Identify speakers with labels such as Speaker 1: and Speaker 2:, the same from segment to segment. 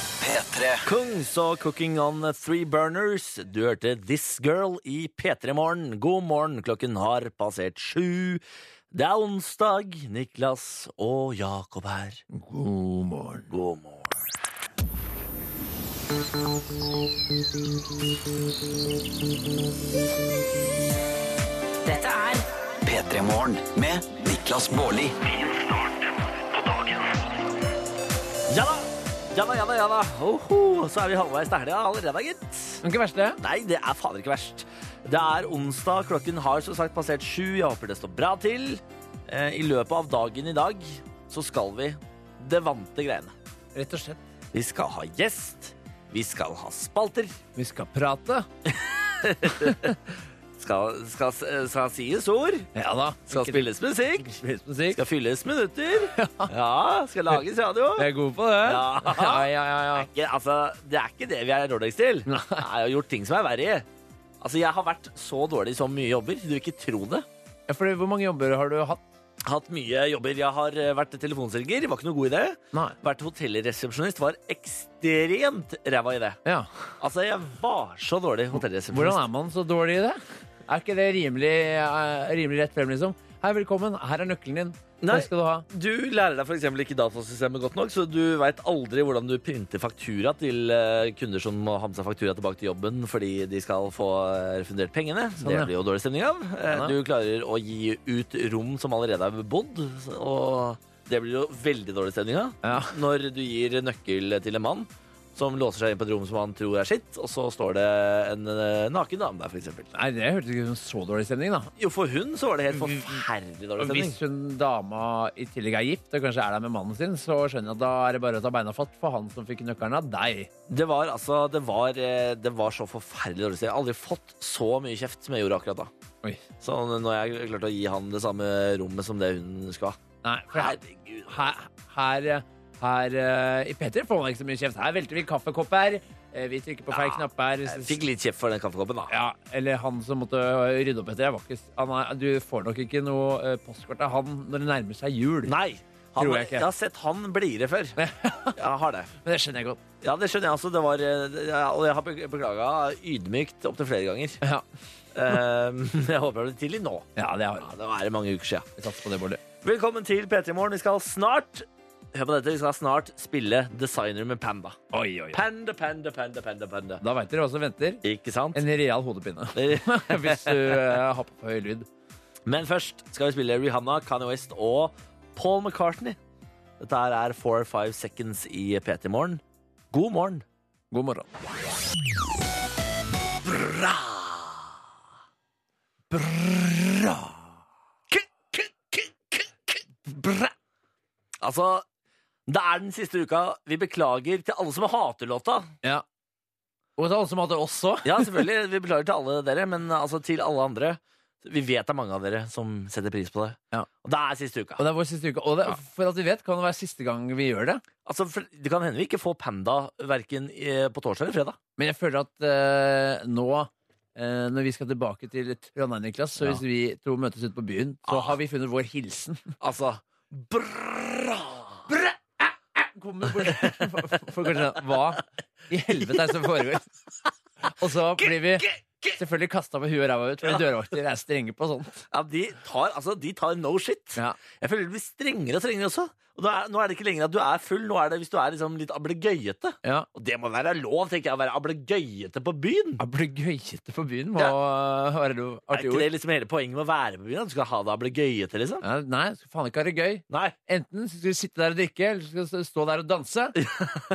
Speaker 1: P3.
Speaker 2: Kungs og Cooking on Three Burners. Du hørte This Girl i P3 Morgen. God morgen, klokken har passert sju. Det er onsdag. Niklas og Jakob her.
Speaker 3: God morgen.
Speaker 2: God morgen.
Speaker 4: Dette er
Speaker 1: P3 Morgen med Niklas Baarli.
Speaker 2: Ja da! Ja da, ja da, ja da. Oho, så er vi halvveis til helga allerede, gitt.
Speaker 3: Men ikke verst, det.
Speaker 2: Nei, det er fader ikke verst. Det er onsdag, klokken har som sagt passert sju. Jeg håper det står bra til. Eh, I løpet av dagen i dag så skal vi det vante greiene.
Speaker 3: Rett og slett.
Speaker 2: Vi skal ha gjest. Vi skal ha spalter.
Speaker 3: Vi skal prate.
Speaker 2: Skal, skal, eh, skal sies ord.
Speaker 3: Ja da.
Speaker 2: Skal spilles musikk.
Speaker 3: musikk.
Speaker 2: Skal fylles minutter. Ja, skal lages radio.
Speaker 3: Jeg er god på det.
Speaker 2: Ja.
Speaker 3: ja, ja, ja, ja.
Speaker 2: Ikke, altså, det er ikke det vi er dårligst til.
Speaker 3: Nei.
Speaker 2: Jeg har gjort ting som er verre. Altså, jeg har vært så dårlig i så mye jobber. Du vil ikke tro det.
Speaker 3: Ja, fordi hvor mange jobber har du hatt?
Speaker 2: Hatt mye jobber. Jeg har eh, vært telefonselger. Var ikke noe god idé.
Speaker 3: Nei.
Speaker 2: Vært hotellresepsjonist. Var ekstremt ræva i det.
Speaker 3: Ja.
Speaker 2: Altså, jeg var så dårlig
Speaker 3: Hvordan
Speaker 2: hotellresepsjonist.
Speaker 3: er man så dårlig i det? Er ikke det rimelig, eh, rimelig rett frem, liksom? Hei, velkommen. Her er nøkkelen din.
Speaker 2: Nei.
Speaker 3: Hva skal du ha?
Speaker 2: Du lærer deg for eksempel ikke datasystemet godt nok, så du veit aldri hvordan du printer faktura til eh, kunder som må ha med seg faktura tilbake til jobben fordi de skal få eh, refundert pengene. det
Speaker 3: Sånn, ja.
Speaker 2: blir jo dårlig stemning av. Eh,
Speaker 3: Ja.
Speaker 2: Du klarer å gi ut rom som allerede er bebodd, og det blir jo veldig dårlig stemning av.
Speaker 3: Ja.
Speaker 2: Når du gir nøkkel til en mann som låser seg inn på et rom som han tror er sitt, og så står det en eh, naken dame der, for eksempel.
Speaker 3: Nei, det hørtes ikke ut som så dårlig stemning, da.
Speaker 2: Jo, for hun så var det helt
Speaker 3: Mm-hmm.
Speaker 2: forferdelig dårlig
Speaker 3: Og
Speaker 2: stemning.
Speaker 3: hvis hun dama i tillegg er gift og kanskje er der med mannen sin, så skjønner jeg at da er det bare å ta beina fatt for han som fikk nøkkelen av deg.
Speaker 2: Det var altså Det var, eh, det var så forferdelig dårlig stil. Jeg har aldri fått så mye kjeft som jeg gjorde akkurat da.
Speaker 3: Oi.
Speaker 2: Så når jeg klarte å gi han det samme rommet som det hun skulle ha.
Speaker 3: Nei, for her,
Speaker 2: Herregud.
Speaker 3: her, her, her eh, i P3 får man ikke så mye kjeft. Her velter vi kaffekopper, eh, vi trykker på feil
Speaker 2: Ja,
Speaker 3: knapper.
Speaker 2: Jeg fikk litt kjeft for den kaffekoppen, da.
Speaker 3: Ja, eller han som måtte eh, rydde opp etter. Jeg var ikke, han er, du får nok ikke noe eh, postkort av han når det nærmer seg jul.
Speaker 2: Nei! Han,
Speaker 3: Tror
Speaker 2: jeg,
Speaker 3: jeg ikke.
Speaker 2: har sett han blidere før. Jeg har det.
Speaker 3: Men det skjønner jeg godt.
Speaker 2: Ja, det skjønner jeg altså. Det var, eh, ja, og jeg har be- beklaga ydmykt opptil flere ganger.
Speaker 3: Ja,
Speaker 2: Eh, Jeg håper jeg blir tilgitt nå.
Speaker 3: ja det har
Speaker 2: Ja,
Speaker 3: jeg.
Speaker 2: det er mange uker sia.
Speaker 3: Vi satser på det, Bård.
Speaker 2: Velkommen til P3 Morgen. Vi skal snart Hør på dette, vi skal snart spille Designer med Panda.
Speaker 3: Oi, oi, oi.
Speaker 2: Panda, panda, panda, panda, panda.
Speaker 3: Da veit dere hva som venter.
Speaker 2: Ikke sant?
Speaker 3: En real hodepine. Hvis du eh, har på høy lyd.
Speaker 2: Men først skal vi spille Rihanna, Kanye West og Paul McCartney. Dette her er 4-5 Seconds i P3 Morgen. God morgen.
Speaker 3: God morgen.
Speaker 2: Bra. Altså, det er den siste uka. Vi beklager til alle som hater låta.
Speaker 3: Ja. Og til alle som hadde oss òg.
Speaker 2: Ja, selvfølgelig. Vi beklager til alle dere, men altså til alle andre. Vi vet det er mange av dere som setter pris på det.
Speaker 3: Ja.
Speaker 2: Og det er siste uka.
Speaker 3: Og det er vår siste uke. Og det, for at vi vet, kan det være siste gang vi gjør det.
Speaker 2: Altså, for det kan hende vi ikke får Panda verken eh, på torsdag eller fredag.
Speaker 3: Men jeg føler at eh, nå eh, når vi skal tilbake til Trondheim, Niklas, så
Speaker 2: Ja. Ah.
Speaker 3: hvis vi to møtes ute på byen, så har vi funnet vår hilsen.
Speaker 2: Altså Bra!
Speaker 3: Kommer bort for- for kanskje sånn, Hva i helvete er det som foregår? Og så blir vi selvfølgelig kasta med huet og ræva ut, for dørvakter er strenge på sånt.
Speaker 2: Ja, de tar, altså, de tar no shit.
Speaker 3: Ja.
Speaker 2: Jeg føler det blir strengere og strengere også. Og nå er, nå er det ikke lenger at du er full, nå er det hvis du er liksom litt ablegøyete.
Speaker 3: Ja.
Speaker 2: Og det må være lov, tenker jeg, å være ablegøyete på byen.
Speaker 3: Ablegøyete på byen må være noe
Speaker 2: Er
Speaker 3: artig
Speaker 2: ikke det
Speaker 3: ord.
Speaker 2: liksom hele poenget med å være på byen? At du skal ha det ablegøyete, liksom?
Speaker 3: Ja, Nei, skal faen ikke ha det gøy.
Speaker 2: Nei.
Speaker 3: Enten skal du sitte der og drikke, eller skal du stå der og danse.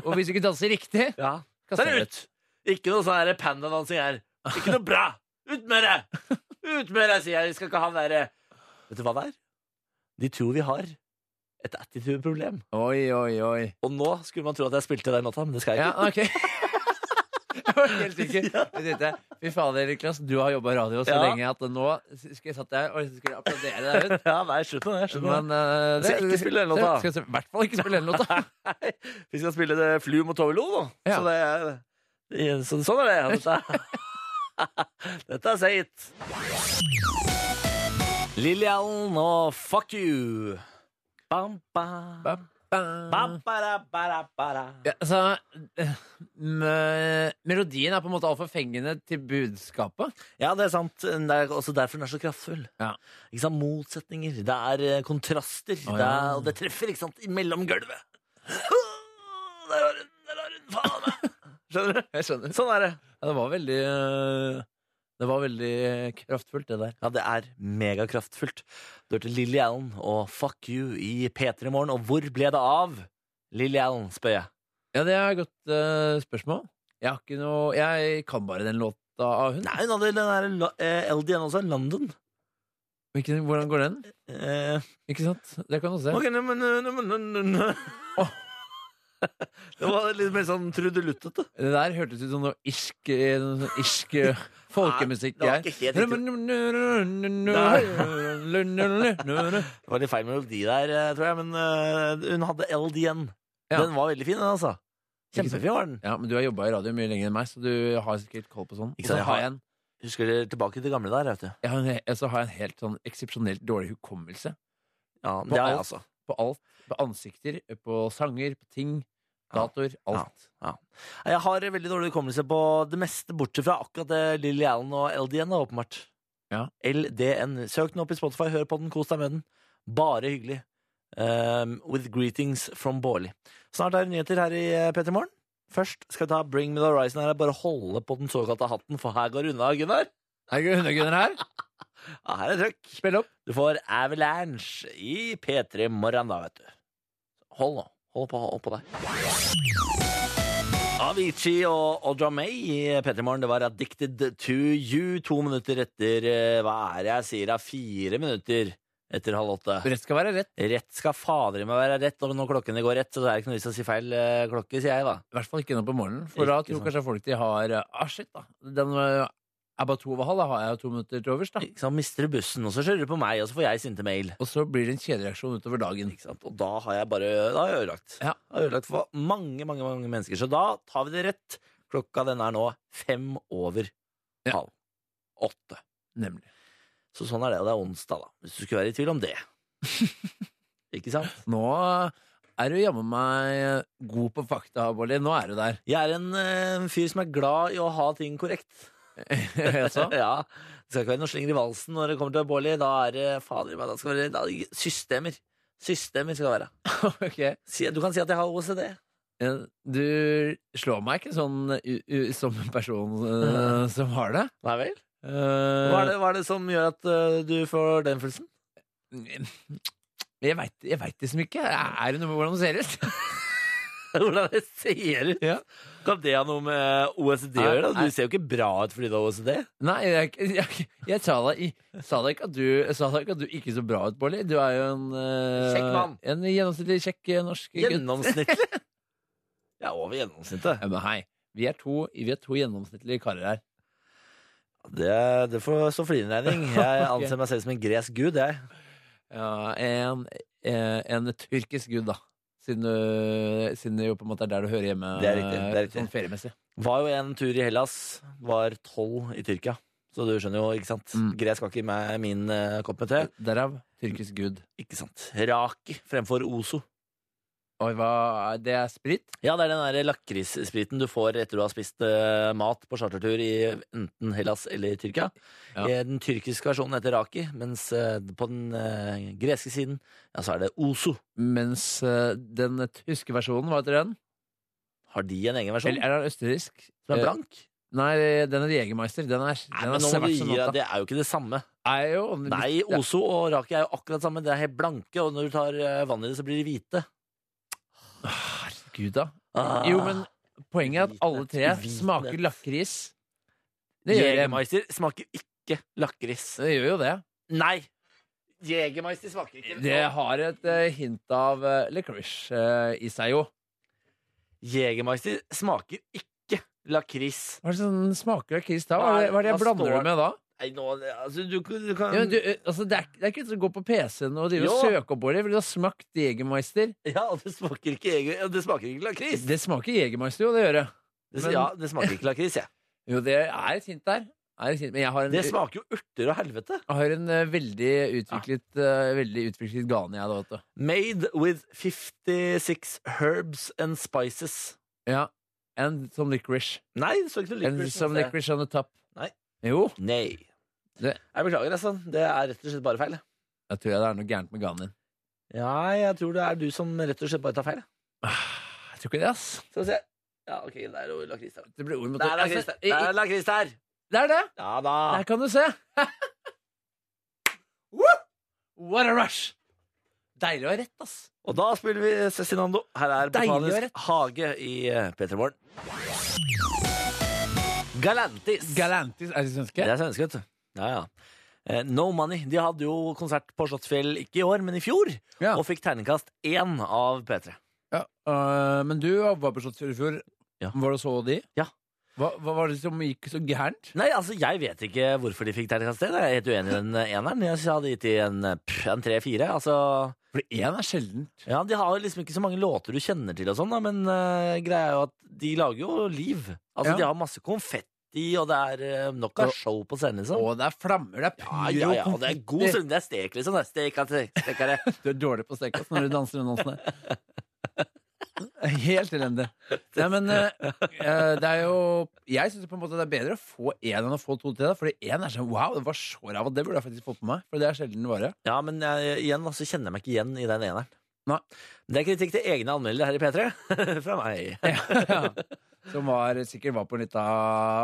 Speaker 3: Og hvis du ikke danser riktig,
Speaker 2: Ja. Ta
Speaker 3: kaster
Speaker 2: det
Speaker 3: jeg
Speaker 2: ut! Ikke noe sånn her pandadansing her. Ikke noe bra! Ut med det! Ut med det, sier jeg. Vi skal ikke ha det derre Vet du hva det er? De tror vi har et attitude-problem.
Speaker 3: Oi, oi, oi.
Speaker 2: Og nå skulle man tro at jeg spilte den låta, men det skal jeg
Speaker 3: Ja,
Speaker 2: ikke.
Speaker 3: ok Jeg var helt sikker Jeg tenkte, Fy fader, Niklas, du har jobbet i radio så
Speaker 2: Ja.
Speaker 3: lenge at nå skulle jeg satt der og skulle applaudere deg ut.
Speaker 2: Ja, nei, slutt med det. Slutt med det.
Speaker 3: Men eh,
Speaker 2: Skal jeg ikke spille den låta?
Speaker 3: Skal jeg i hvert fall ikke spille den låta.
Speaker 2: Nei, vi skal spille det Flu mot Tovelo nå. Så
Speaker 3: Ja.
Speaker 2: det, er- så, sånn er det. Dette, dette er seit. Lilly Allen og Fuck You. Bam, bam.
Speaker 3: Bam, ba.
Speaker 2: Mm.
Speaker 3: Ja, altså, eh, me- melodien er på en måte altfor fengende til budskapet.
Speaker 2: Ja, det er sant. Det er også derfor den er så kraftfull.
Speaker 3: Ja.
Speaker 2: Ikke sant? Motsetninger. Det er eh, kontraster.
Speaker 3: ja.
Speaker 2: det er, og det treffer, ikke sant, imellom gulvet. Der har hun! Der har hun! Faen meg! Skjønner du?
Speaker 3: Jeg skjønner.
Speaker 2: Sånn er det.
Speaker 3: Ja, det var veldig eh, Det var veldig kraftfullt, det der.
Speaker 2: Ja, det er megakraftfullt. Du hørte Lilly Allen og Fuck You i P3 i morgen. Og hvor ble det av Lilly Allen, spør jeg.
Speaker 3: Ja, det er et godt eh, spørsmål. Jeg har ikke noe Jeg kan bare den låta av hun.
Speaker 2: Nei, hun hadde den der la- eh, LDN også. London.
Speaker 3: Hvilken- hvordan går den?
Speaker 2: Eh,
Speaker 3: Ikke sant? Det kan du se.
Speaker 2: ok, nu- nu- nu- nu- nu- nu- nu. Åh. Det var litt mer sånn trudeluttete.
Speaker 3: Det der hørtes ut som noe irsk, eh, noe sånn irsk eh, folkemusikk.
Speaker 2: Nei, det var ikke
Speaker 3: jeg.
Speaker 2: Det var litt feil melodi der, eh, tror jeg, men eh, hun hadde LDN.
Speaker 3: Ja.
Speaker 2: Den var veldig fin, den, altså.
Speaker 3: Ikke sant?
Speaker 2: Kjempefin var den.
Speaker 3: Ja, men du har jobba i radio mye lenger enn meg, så du har sikkert koll på sånn.
Speaker 2: Ikke
Speaker 3: Og
Speaker 2: sant,
Speaker 3: så
Speaker 2: jeg
Speaker 3: har
Speaker 2: har-
Speaker 3: jeg en,
Speaker 2: Husker dere tilbake til det gamle der, vet du.
Speaker 3: jeg har en, he- så har jeg en helt sånn eksepsjonelt dårlig hukommelse
Speaker 2: Ja,
Speaker 3: På
Speaker 2: det er jeg,
Speaker 3: alt.
Speaker 2: altså.
Speaker 3: på alt. På ansikter, på sanger, på ting,
Speaker 2: Ja.
Speaker 3: datoer, alt.
Speaker 2: Jeg har veldig dårlig hukommelse på det meste, bortsett fra akkurat det Lilly Allen og LDN, da, åpenbart.
Speaker 3: Ja.
Speaker 2: LDN. Søk den opp i Spotify, hør på den, kos deg med den. Bare hyggelig. Um, with greetings from Bårli. Snart er det nyheter her i eh, P3 Morgen. Først skal vi ta Bring Me The Horizon her. Bare holde på den såkalte hatten, for her går det unna, Gunnar.
Speaker 3: Er det hundegunner her?
Speaker 2: Ja, her er trøkk.
Speaker 3: Spill opp.
Speaker 2: Du får Avalanche i P3 Morgen da, vet du. Hold nå. Hold på, hold på deg. Avicii og Audra May i P3 Morgen. Det var Addicted to you. To minutter etter eh, Hva er det jeg sier? da? Fire minutter etter halv åtte.
Speaker 3: Rett skal være rett.
Speaker 2: Rett skal fader i meg være rett, og når klokkene går rett, så er det ikke noe vits å si feil eh, klokke, sier jeg, da.
Speaker 3: I hvert fall ikke nå på morgenen, for da
Speaker 2: Ikke
Speaker 3: tror
Speaker 2: sant.
Speaker 3: kanskje folk de har eh, Ah, shit, da. Den eh, er bare to over halv, da har jeg jo to minutter til overs, da.
Speaker 2: Ikke sant? Mister du bussen, og så kjører du på meg, og så får jeg sinte mail.
Speaker 3: Og så blir det en kjedereaksjon utover dagen.
Speaker 2: Ikke sant? Og da har jeg bare Da har jeg ødelagt.
Speaker 3: Ja.
Speaker 2: Da har jeg ødelagt for mange, mange mange mennesker. Så da tar vi det rett. Klokka den er nå fem over
Speaker 3: Ja.
Speaker 2: halv åtte.
Speaker 3: Nemlig.
Speaker 2: Så sånn er det. Og det er onsdag, da. Hvis du skulle være i tvil om det. Ikke sant?
Speaker 3: Nå er du jammen meg god på fakta, Bolli. Nå er du der.
Speaker 2: Jeg er en eh, fyr som er glad i å ha ting korrekt.
Speaker 3: Altså,
Speaker 2: ja. Det skal ikke være noe slenger i valsen når det kommer til Bårli. Da er det fader i meg, da skal det være da- systemer. Systemer skal det være.
Speaker 3: ok.
Speaker 2: Si- Du kan si at jeg har OCD.
Speaker 3: Du slår meg ikke sånn u u som en person eh, som har det.
Speaker 2: Nei vel?
Speaker 3: Eh,
Speaker 2: Hva er det, hva er det som gjør at eh, du får den følelsen?
Speaker 3: Eh, Jeg veit jeg vet liksom ikke. Er det noe med hvordan du ser ut?
Speaker 2: Hvordan det ser ut?
Speaker 3: Ja.
Speaker 2: Kan det ha noe med OSD å
Speaker 3: Nei,
Speaker 2: gjøre? da?
Speaker 3: nei.
Speaker 2: Du ser jo ikke bra ut fordi du har OSD.
Speaker 3: Nei, jeg, jeg, jeg sa da i- sa da ikke at du jeg sa da ikke at du ikke så bra ut, Bolli. Du er jo en eh,
Speaker 2: Kjekk mann.
Speaker 3: En gjennomsnittlig kjekk eh, norsk gutt.
Speaker 2: Gjennomsnittlig. Ja, over gjennomsnittet.
Speaker 3: Ja, men hei. Vi er to, vi er to gjennomsnittlige karer her.
Speaker 2: Det, det får så for din regning. Jeg anser meg selv som en gresk gud, jeg.
Speaker 3: Ja, en, eh, en tyrkisk gud, da. Siden, du, siden det jo på en måte er der du hører hjemme
Speaker 2: Det er riktig, det er
Speaker 3: eh,
Speaker 2: riktig.
Speaker 3: sånn feriemessig.
Speaker 2: Var jo en tur i Hellas. Var tolv i Tyrkia. Så du skjønner jo, ikke sant?
Speaker 3: Mm.
Speaker 2: Gresk har ikke med min eh, kopp med te.
Speaker 3: Derav tyrkisk gud.
Speaker 2: Ikke sant. Raki fremfor Ozo.
Speaker 3: Oi, hva Det er sprit?
Speaker 2: Ja, det er den der lakrisspriten du får etter du har spist eh, mat på chartertur i enten Hellas eller Tyrkia.
Speaker 3: Ja.
Speaker 2: Eh, Den tyrkiske versjonen heter raki, mens eh, på den eh, greske siden ja, så er det ozo.
Speaker 3: Mens eh, den tyske versjonen, hva heter den?
Speaker 2: Har de en egen versjon
Speaker 3: Eller er den østerriksk?
Speaker 2: som er
Speaker 3: Eh,
Speaker 2: blank?
Speaker 3: Nei, den er Jegermeister. Den
Speaker 2: Nei,
Speaker 3: er, den
Speaker 2: men
Speaker 3: er
Speaker 2: nå må
Speaker 3: svart
Speaker 2: du gi
Speaker 3: som
Speaker 2: deg,
Speaker 3: natta.
Speaker 2: Det er jo ikke det samme.
Speaker 3: Er jo,
Speaker 2: Nei,
Speaker 3: ja.
Speaker 2: ozo og raki er jo akkurat samme. Det er helt blanke, og når du tar eh, vann i det, så blir de hvite.
Speaker 3: Herregud, da.
Speaker 2: Ah.
Speaker 3: Jo, men poenget er at alle tre
Speaker 2: Uvitenhet.
Speaker 3: smaker lakris. Det gjør de.
Speaker 2: Jegermeister smaker ikke lakris.
Speaker 3: Det gjør jo det.
Speaker 2: Nei! Jegermeister smaker ikke
Speaker 3: Det har et eh, hint av uh, licorice eh, i seg, jo.
Speaker 2: Jegermeister smaker ikke lakris.
Speaker 3: Hva er det som smaker av Chris da?
Speaker 2: Hva
Speaker 3: Hva
Speaker 2: er-
Speaker 3: er det, hva er det jeg
Speaker 2: hva
Speaker 3: blander
Speaker 2: står-
Speaker 3: du med da?
Speaker 2: Nei, nå altså, du, du kan
Speaker 3: Ja, men du, eh, altså, det, er, ikke- det er ikke vits å gå på PC-en og drive og
Speaker 2: Jo.
Speaker 3: søke opp ordet, for du har smakt Jegermeister.
Speaker 2: Ja, og det smaker ikke, jeger- ja, det smaker ikke lakris.
Speaker 3: Det smaker Jegermeister, jo, det gjør det.
Speaker 2: Det,
Speaker 3: men-
Speaker 2: ja, det smaker ikke lakris, jeg.
Speaker 3: Jo, det er et hint der. Er det sint? Men jeg har en,
Speaker 2: Det smaker jo urter og helvete.
Speaker 3: jeg har en eh, veldig utviklet, eh, veldig utviklet gane, jeg da, vet du.
Speaker 2: Made with 56 herbs and spices.
Speaker 3: Ja. And some licorice.
Speaker 2: Nei, det så ikke noe
Speaker 3: And
Speaker 2: licorice,
Speaker 3: some
Speaker 2: men det-
Speaker 3: licorice on the top.
Speaker 2: Nei.
Speaker 3: Jo.
Speaker 2: Nei.
Speaker 3: Det-
Speaker 2: Jeg beklager, altså. Det er rett og slett bare feil. jeg.
Speaker 3: Da tror jeg det er noe gærent med ganen din.
Speaker 2: Ja, jeg tror det er du som rett og slett bare tar feil. jeg.
Speaker 3: Ah, Jeg tror ikke det, ass.
Speaker 2: Skal vi se. Ja, ok, det er jo lakris der.
Speaker 3: Det ble ord mot
Speaker 2: Det er
Speaker 3: ord.
Speaker 2: lakris
Speaker 3: Altså,
Speaker 2: der.
Speaker 3: i-
Speaker 2: Det er lakris der.
Speaker 3: i- Det er det!
Speaker 2: Ja da.
Speaker 3: Der kan du se. Woo! What a rush! Deilig å ha rett, ass.
Speaker 2: Og da spiller vi Cezinando. Her er
Speaker 3: Deilig å
Speaker 2: Botanisk
Speaker 3: rett.
Speaker 2: hage i eh, P3 Morgen. Galantis.
Speaker 3: Galantis er det svenske?
Speaker 2: Det er svenske, vet du. Ja, ja. Eh, No Money. De hadde jo konsert på Slottsfjell, ikke i år, men i fjor.
Speaker 3: Ja.
Speaker 2: Og fikk terningkast én av P3.
Speaker 3: Ja, øh, men du var på Slottsfjell i fjor.
Speaker 2: Ja.
Speaker 3: Var det så de?
Speaker 2: Ja.
Speaker 3: Hva, hva var det som gikk så gærent?
Speaker 2: Nei, altså, jeg vet ikke hvorfor de fikk terningkast én. Jeg er helt uenig i den eneren. Jeg hadde gitt de en, eh, pff, en tre-fire. Altså,
Speaker 3: For én er sjeldent.
Speaker 2: ja, de har jo liksom ikke så mange låter du kjenner til og sånn, da, men eh, greia er jo at de lager jo liv. Altså,
Speaker 3: Ja.
Speaker 2: de har masse konfetti, og det er eh, nok av
Speaker 3: Og-
Speaker 2: show på scenen, liksom.
Speaker 3: Og det er flammer, det er pyro
Speaker 2: Ja, ja, ja, og det er god
Speaker 3: konfetti.
Speaker 2: stemning. Det er stek, liksom. Det er stek, stek, stekere.
Speaker 3: Du er dårlig på stekas når du danser den dansen der. Helt elendig. Nei, men øh, øh, det er jo Jeg syns på en måte det er bedre å få én enn å få to til. da, Fordi én er sånn wow, det var så ræva. Det burde jeg faktisk fått på meg. For det er sjelden vare.
Speaker 2: Ja, men jeg, igjen da, så kjenner jeg meg ikke igjen i den eneren.
Speaker 3: Nei.
Speaker 2: Men Det er kritikk til egne anmeldere her i P3. Fra meg.
Speaker 3: Som var, sikkert var på en lita,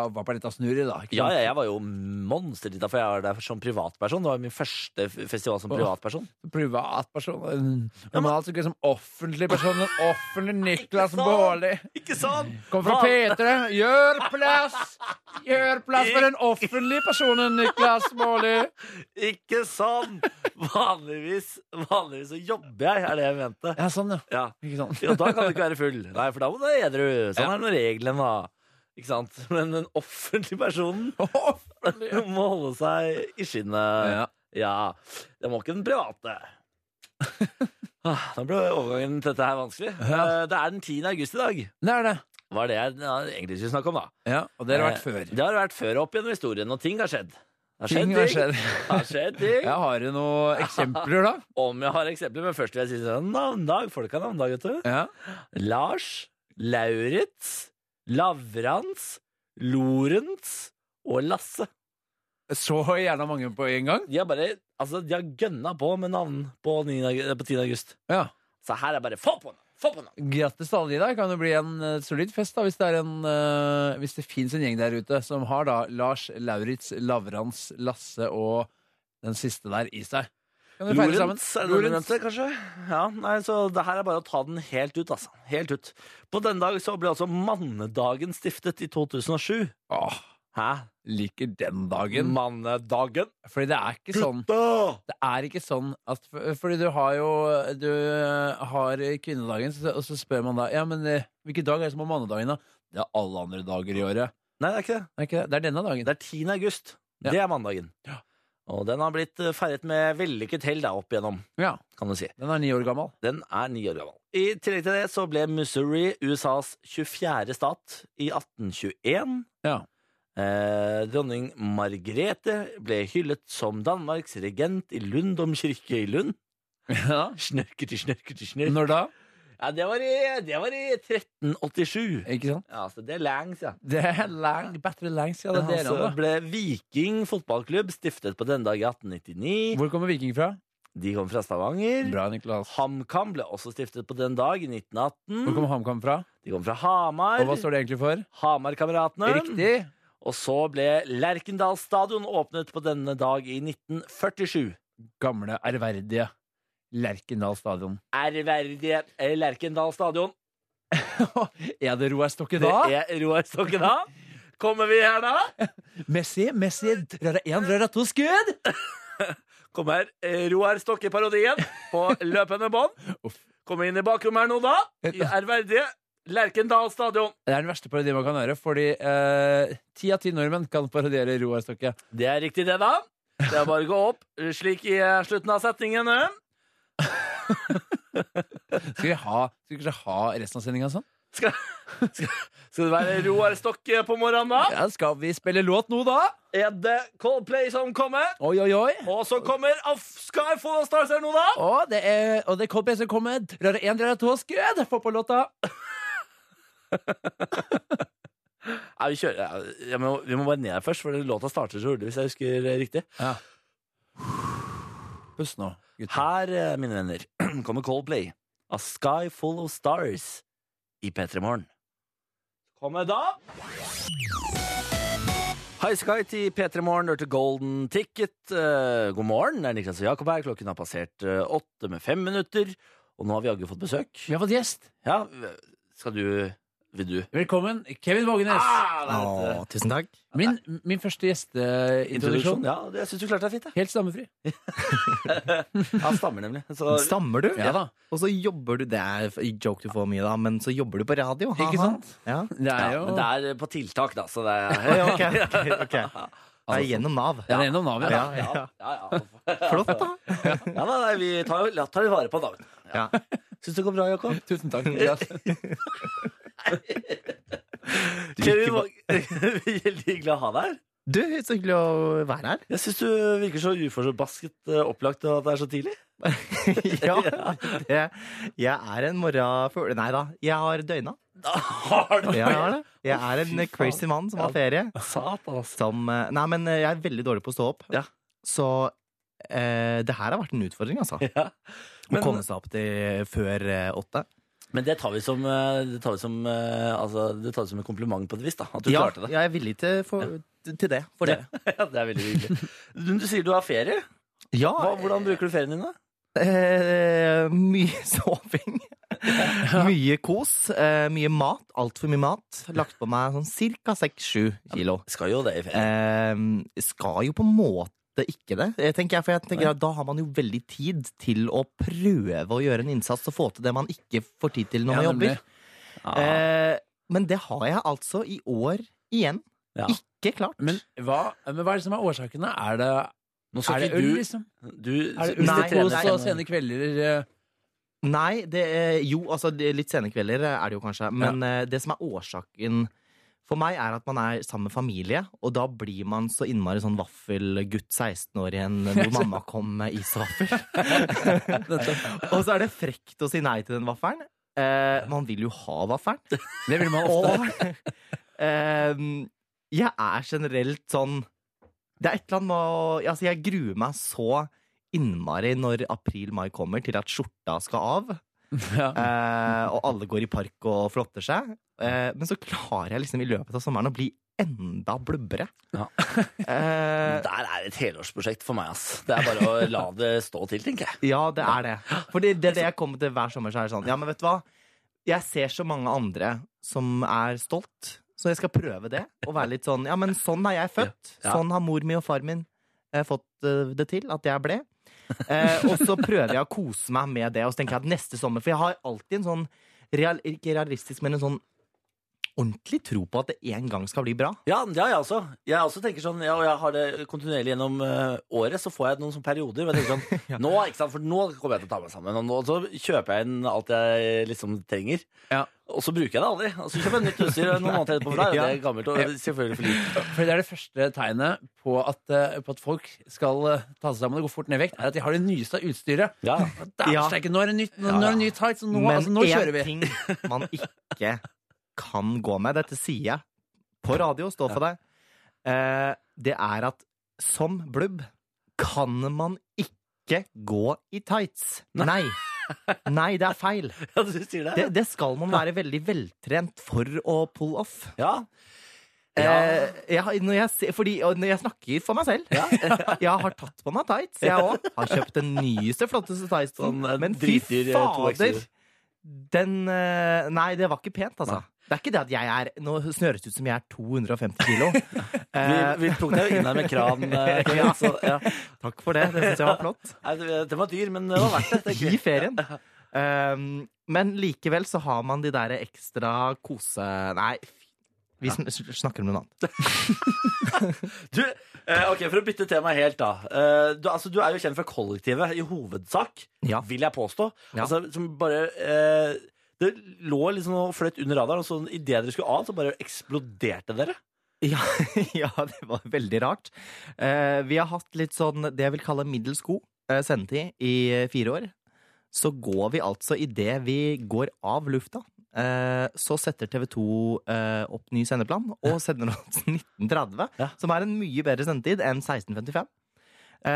Speaker 3: var på en lita snurr i, da. ikke
Speaker 2: Ja,
Speaker 3: sant?
Speaker 2: ja, jeg var jo monsterlita, for jeg var der som privatperson. Det var min første f- festival som
Speaker 3: Åh.
Speaker 2: privatperson.
Speaker 3: privatperson en- Men man er altså ikke som offentlig person En offentlig Niklas
Speaker 2: sant?
Speaker 3: Bårli
Speaker 2: Ikke sant?
Speaker 3: Kom fra Petre Gjør plass Gjør plass for den offentlige personen Niklas Bårli
Speaker 2: Ikke sant! Vanligvis, vanligvis så jobber jeg, er det jeg mente.
Speaker 3: Ja, sånn ja
Speaker 2: Ja.
Speaker 3: Ikke sant
Speaker 2: ja, da kan du ikke være full. Nei, for da må du være edru. Sånn
Speaker 3: Ja.
Speaker 2: er nå reglene, da. Ikke sant? Men den offentlige personen må holde seg i skinnet.
Speaker 3: ja.
Speaker 2: Ja, det må ikke den private. Ah, Da ble overgangen til dette her vanskelig.
Speaker 3: Ja.
Speaker 2: Eh, Det er den 10. august i dag.
Speaker 3: Det er det
Speaker 2: Var det jeg ja, egentlig skulle snakke om, da.
Speaker 3: ja, Og det har vært
Speaker 2: Eh,
Speaker 3: før
Speaker 2: Det har vært før opp gjennom historien, og ting har skjedd. Det har skjedd
Speaker 3: Ting
Speaker 2: ting.
Speaker 3: har skjedd
Speaker 2: Det har skjedd ting.
Speaker 3: ja, Har du noen eksempler da?
Speaker 2: Om jeg har eksempler, men først vil jeg si sånn navndag. Folk har navndag, vet du.
Speaker 3: Ja.
Speaker 2: Lars, Lauritz, Lavrans, Lorentz og Lasse.
Speaker 3: Så gjerne mange på en gang
Speaker 2: De har bare altså, de har gønna på med navn på, 9. aug- på 10. august.
Speaker 3: ja.
Speaker 2: Så her er bare få på navn! Få på navn!
Speaker 3: Grattis til alle de da Kan det bli en eh, solid fest da Hvis det, er en, eh, hvis det finnes en gjeng der ute Som har da Lars, Lauritz, Lavrans, Lasse og den siste der i seg Kan dere feire sammen?
Speaker 2: Lorentz er det du
Speaker 3: Lorentz.
Speaker 2: nevnte, kanskje? Ja, nei, så det her er bare å ta den helt ut, altså. Helt ut. På denne dag så ble altså mannedagen stiftet i 2007.
Speaker 3: Åh,
Speaker 2: Hæ?
Speaker 3: liker den dagen
Speaker 2: Mannedagen?
Speaker 3: Fordi det er ikke sånn
Speaker 2: Gutta!
Speaker 3: Det er ikke sånn at for- Fordi du har jo Du eh, har kvinnedagen så- Og så spør man da Ja, men eh, hvilken dag er det som er mannedagen da? Det er alle andre dager i året
Speaker 2: Nei, det er ikke det.
Speaker 3: Det er, ikke det. det er denne dagen
Speaker 2: Det er 10. august.
Speaker 3: Ja.
Speaker 2: Det er mandagen.
Speaker 3: Ja.
Speaker 2: Og den har blitt eh, feiret med vellykket hell da, opp igjennom,
Speaker 3: Ja,
Speaker 2: kan du si.
Speaker 3: den er ni år gammel
Speaker 2: Den er ni år gammel. I tillegg til det så ble Missouri USAs 24. stat i 1821.
Speaker 3: Ja.
Speaker 2: Eh, dronning Margrethe ble hyllet som Danmarks regent i Lundom kirke i Lund.
Speaker 3: Ja.
Speaker 2: Snørker til snørker til snørk.
Speaker 3: Når da?
Speaker 2: Ja, det var i, det var i 1387.
Speaker 3: Ikke sant?
Speaker 2: Ja, så det er lenge siden.
Speaker 3: Det er lang, bedre lenge siden det er
Speaker 2: så
Speaker 3: dere,
Speaker 2: ble Viking fotballklubb stiftet på denne dag i
Speaker 3: da.
Speaker 2: 1899.
Speaker 3: Hvor kommer Viking fra?
Speaker 2: De kom fra Stavanger.
Speaker 3: Bra, Niklas.
Speaker 2: HamKam ble også stiftet på den dag i
Speaker 3: Hvor
Speaker 2: 1918.
Speaker 3: kommer HamKam fra?
Speaker 2: De kom fra Hamar.
Speaker 3: Og hva står det egentlig for?
Speaker 2: Hamar-kameratene.
Speaker 3: Riktig!
Speaker 2: Og så ble Lerkendal stadion åpnet på denne dag i 1947.
Speaker 3: Gamle, ærverdige Lerkendal stadion.
Speaker 2: Ærverdige eh, Lerkendal stadion.
Speaker 3: er det Roar Stokke
Speaker 2: Det
Speaker 3: da?
Speaker 2: er Roar Stokke da. Kommer vi her da?
Speaker 3: Messi, Messi, røra én, røra to skudd!
Speaker 2: Kommer eh, Roar Stokke-parodien på løpende bånd.
Speaker 3: Uff.
Speaker 2: Kommer inn i bakrommet her nå da. I ærverdige Lerkendal stadion.
Speaker 3: Det er den verste parodien man kan gjøre, fordi eh, ti av ti nordmenn kan parodiere Roar Stokke.
Speaker 2: Det er riktig det da. Det er bare å gå opp eh, slik i eh, slutten av setningen. eh.
Speaker 3: Skal vi ha, skal vi kanskje ha resten av sendinga sånn?
Speaker 2: Skal det være Roar Stokke eh, på morgenen da?
Speaker 3: Ja, skal vi spille låt nå, da?
Speaker 2: Er det Coldplay som kommer?
Speaker 3: Oi, oi, oi.
Speaker 2: Og så kommer Af Skal jeg få Stars her nå, da?
Speaker 3: Og det er, og det er Coldplay som kommer. Drar det én, drar det to skudd. Få på låta.
Speaker 2: Nei, vi kjører ja, jeg må, Vi må bare ned her først, for låta starter så hurtig, hvis jeg husker eh, riktig.
Speaker 3: Ja. Pust nå, gutter.
Speaker 2: Her, eh, mine venner, kommer Coldplay. A Sky Full of Stars i P3 Morgen. Kommer da. High Sky til P3 Morgen, hørte Golden Ticket. Eh, god morgen, det er Niklas og Jakob her. Klokken har passert eh, åtte med fem minutter. Og nå har vi jaggu fått besøk.
Speaker 3: Vi har fått gjest.
Speaker 2: Ja, skal du Vil du?
Speaker 3: Velkommen, Kevin Vågenes.
Speaker 5: Ah.
Speaker 2: det er et, eh,
Speaker 5: tusen takk.
Speaker 3: Min, min første gjesteintroduksjon.
Speaker 2: Ja, det- jeg syns du klarte deg fint. jeg.
Speaker 3: Helt stammefri.
Speaker 2: Han stammer nemlig. Så,
Speaker 5: Stammer du?
Speaker 3: Ja da.
Speaker 5: Og så jobber du Det er joke du får mye, da, men så jobber du på radio. haha.
Speaker 3: Ikke sant?
Speaker 5: Ja.
Speaker 3: Det er
Speaker 2: ja,
Speaker 3: jo
Speaker 2: men det er eh, på tiltak, da, så det
Speaker 5: Oi,
Speaker 2: er
Speaker 5: ok, ok, ok. Det er gjennom Nav.
Speaker 3: Ja, det er gjennom Nav, ja.
Speaker 5: Ja,
Speaker 2: Ja,
Speaker 5: ja.
Speaker 2: ja, ja.
Speaker 5: Flott, da.
Speaker 2: Ja, nei, nei, vi tar jo tar jo vare på navnet.
Speaker 5: Ja.
Speaker 2: Syns det går bra, Jakob?
Speaker 3: Tusen takk. Niklas.
Speaker 2: Kevin Våg- Veldig glad å ha deg her.
Speaker 5: Du, så hyggelig å være her.
Speaker 2: Jeg syns du virker så uforbasket eh, opplagt og at det er så tidlig.
Speaker 5: Ja, det, jeg er en morgenfugl Nei da, jeg har døgna.
Speaker 2: Har du
Speaker 5: Jeg, har det. jeg er en crazy mann som har ferie.
Speaker 2: Satan, ass.
Speaker 5: Som eh, Nei, men jeg er veldig dårlig på å stå opp.
Speaker 2: Ja.
Speaker 5: Så eh, det her har vært en utfordring, altså.
Speaker 2: Ja.
Speaker 5: å komme
Speaker 2: Men,
Speaker 5: seg opp til før eh, åtte.
Speaker 2: men det tar vi som, eh, det tar vi som, eh, altså, det tar vi som en kompliment på et vis, da. At du
Speaker 5: ja,
Speaker 2: klarte det.
Speaker 5: jeg er villig til, for, til det. For dere.
Speaker 2: Ja, det er veldig hyggelig. Du, du sier du har ferie.
Speaker 5: Ja,
Speaker 2: Hva, hvordan bruker du ferien din, da?
Speaker 5: eh, mye soving. Mye kos. Eh, mye mat. Altfor mye mat. Lagt på meg sånn ca. 6-7 kilo.
Speaker 2: Skal jo det i ferie.
Speaker 5: Eh, skal jo på en måte ikke det, eh, tenker jeg. For jeg tenker at da har man jo veldig tid til å prøve å gjøre en innsats og få til det man ikke får tid til
Speaker 3: Ja,
Speaker 5: når man jobber.
Speaker 3: nemlig.
Speaker 5: Eh, men det har jeg altså i år igjen.
Speaker 2: Ja.
Speaker 5: Ikke klart.
Speaker 3: Men hva, men hva er det som er årsaken? da? Er det,
Speaker 2: Nå
Speaker 3: er det øl, liksom?
Speaker 2: du,
Speaker 3: Er det øl
Speaker 5: Hvis det
Speaker 3: i
Speaker 5: trener
Speaker 3: kos
Speaker 5: seg
Speaker 3: og
Speaker 5: nå.
Speaker 3: sene kvelder? eh,
Speaker 5: Nei, det er, jo, altså det er litt sene kvelder er det jo kanskje. Men eh, det som er årsaken for meg, er at man er sammen med familie, og da blir man så innmari sånn vaffelgutt 16 år igjen hvor mamma kom med isvaffel. og så er det frekt å si nei til den vaffelen. Eh, man vil jo ha vaffelen.
Speaker 3: Det vil man ofte.
Speaker 5: Og ehm, jeg er generelt sånn Det er et eller annet med å altså Jeg gruer meg så innmari når april-mai kommer, til at skjorta skal av.
Speaker 3: Ja.
Speaker 5: Eh, og alle går i park og flotter seg. Eh, men så klarer jeg liksom i løpet av sommeren å bli enda blubbere.
Speaker 2: Ja.
Speaker 5: Eh,
Speaker 2: Der er et helårsprosjekt for meg, ass. Det er bare å la det stå til, tenker jeg.
Speaker 5: ja, det er det. For det er det jeg kommer til hver sommer. Så er det sånn, ja, men vet du hva? Jeg ser så mange andre som er stolt, så jeg skal prøve det. Og være litt sånn Ja, men sånn er jeg født.
Speaker 2: Ja. Ja.
Speaker 5: Sånn har mor mi og far min eh, fått eh, det til, at jeg ble. Eh, og så prøver jeg å kose meg med det, og så tenker jeg at neste sommer For jeg har alltid en sånn real, Ikke realistisk, men en sånn ordentlig tro på at det en gang skal bli bra.
Speaker 2: Ja, det har jeg også. Jeg også tenker sånn, ja, og jeg har det kontinuerlig gjennom eh, året, så får jeg noen sånne perioder. hvor jeg tenker sånn, nå, ikke sant, for nå kommer jeg til å ta meg sammen, og nå så kjøper jeg inn alt jeg liksom trenger.
Speaker 3: Ja.
Speaker 2: Og så bruker jeg det aldri. Og så kjøper jeg nytt utstyr noen måneder etterpå, for da er jo det gammelt og selvfølgelig for lite.
Speaker 3: For det er det første tegnet på at, eh, på at folk skal eh, ta seg sammen og gå fort ned i vekt, er at de har det nyeste utstyret.
Speaker 2: Ja.
Speaker 3: Dæven
Speaker 5: Ja.
Speaker 3: steike, nå er det nytt, nå, nå er det ny tight, så nå, altså, nå
Speaker 5: én
Speaker 3: kjører vi.
Speaker 5: ting man ikke kan gå med, dette sier jeg på radio, stå for deg, eh, det er at som blubb kan man ikke gå i tights. Nei. Nei, det er feil.
Speaker 2: ja, du sier
Speaker 5: Det,
Speaker 2: det.
Speaker 5: det skal man være veldig veltrent for å pull off.
Speaker 2: Ja.
Speaker 5: Eh, jeg, har- når jeg, ser- fordi, og når jeg snakker for meg selv Jeg har tatt på meg tights, jeg òg. Har kjøpt den nyeste, flotteste tightsen.
Speaker 2: Sånn, eh,
Speaker 5: men fy
Speaker 2: dritdyr, eh, 2X-er.
Speaker 5: fader! Den eh, Nei, det var ikke pent, altså. Det er ikke det at jeg er Nå snøres det ut som jeg er 250 kilo.
Speaker 2: Vi,
Speaker 5: Eh,
Speaker 2: vi tok deg jo inn her med kran. eh,
Speaker 5: Ja.
Speaker 2: Så, ja.
Speaker 5: takk for det. Det syns jeg var flott.
Speaker 2: Nei, det- Den var dyr, men det var verdt det. tenker
Speaker 5: Gi
Speaker 2: jeg.
Speaker 5: ferien. Um, men likevel så har man de der ekstra kose... Nei, fy- vi sn snakker om noe annet.
Speaker 2: Du, eh, ok, For å bytte tema helt, da. Eh, du, altså, du er jo kjent fra kollektivet i hovedsak,
Speaker 5: Ja.
Speaker 2: vil jeg påstå.
Speaker 5: Ja.
Speaker 2: Altså, som bare eh, Det lå liksom og fløt under radaren, og så idet dere skulle av, så bare eksploderte dere.
Speaker 5: Ja, ja, det var veldig rart. Eh, vi har hatt litt sånn det jeg vil kalle middels god eh, sendetid i eh, fire år. Så går vi altså idet vi går av lufta. Eh, så setter TV 2 eh, opp ny sendeplan og sender oss 1930,
Speaker 2: Ja.
Speaker 5: som er en mye bedre sendetid enn 1655. Eh,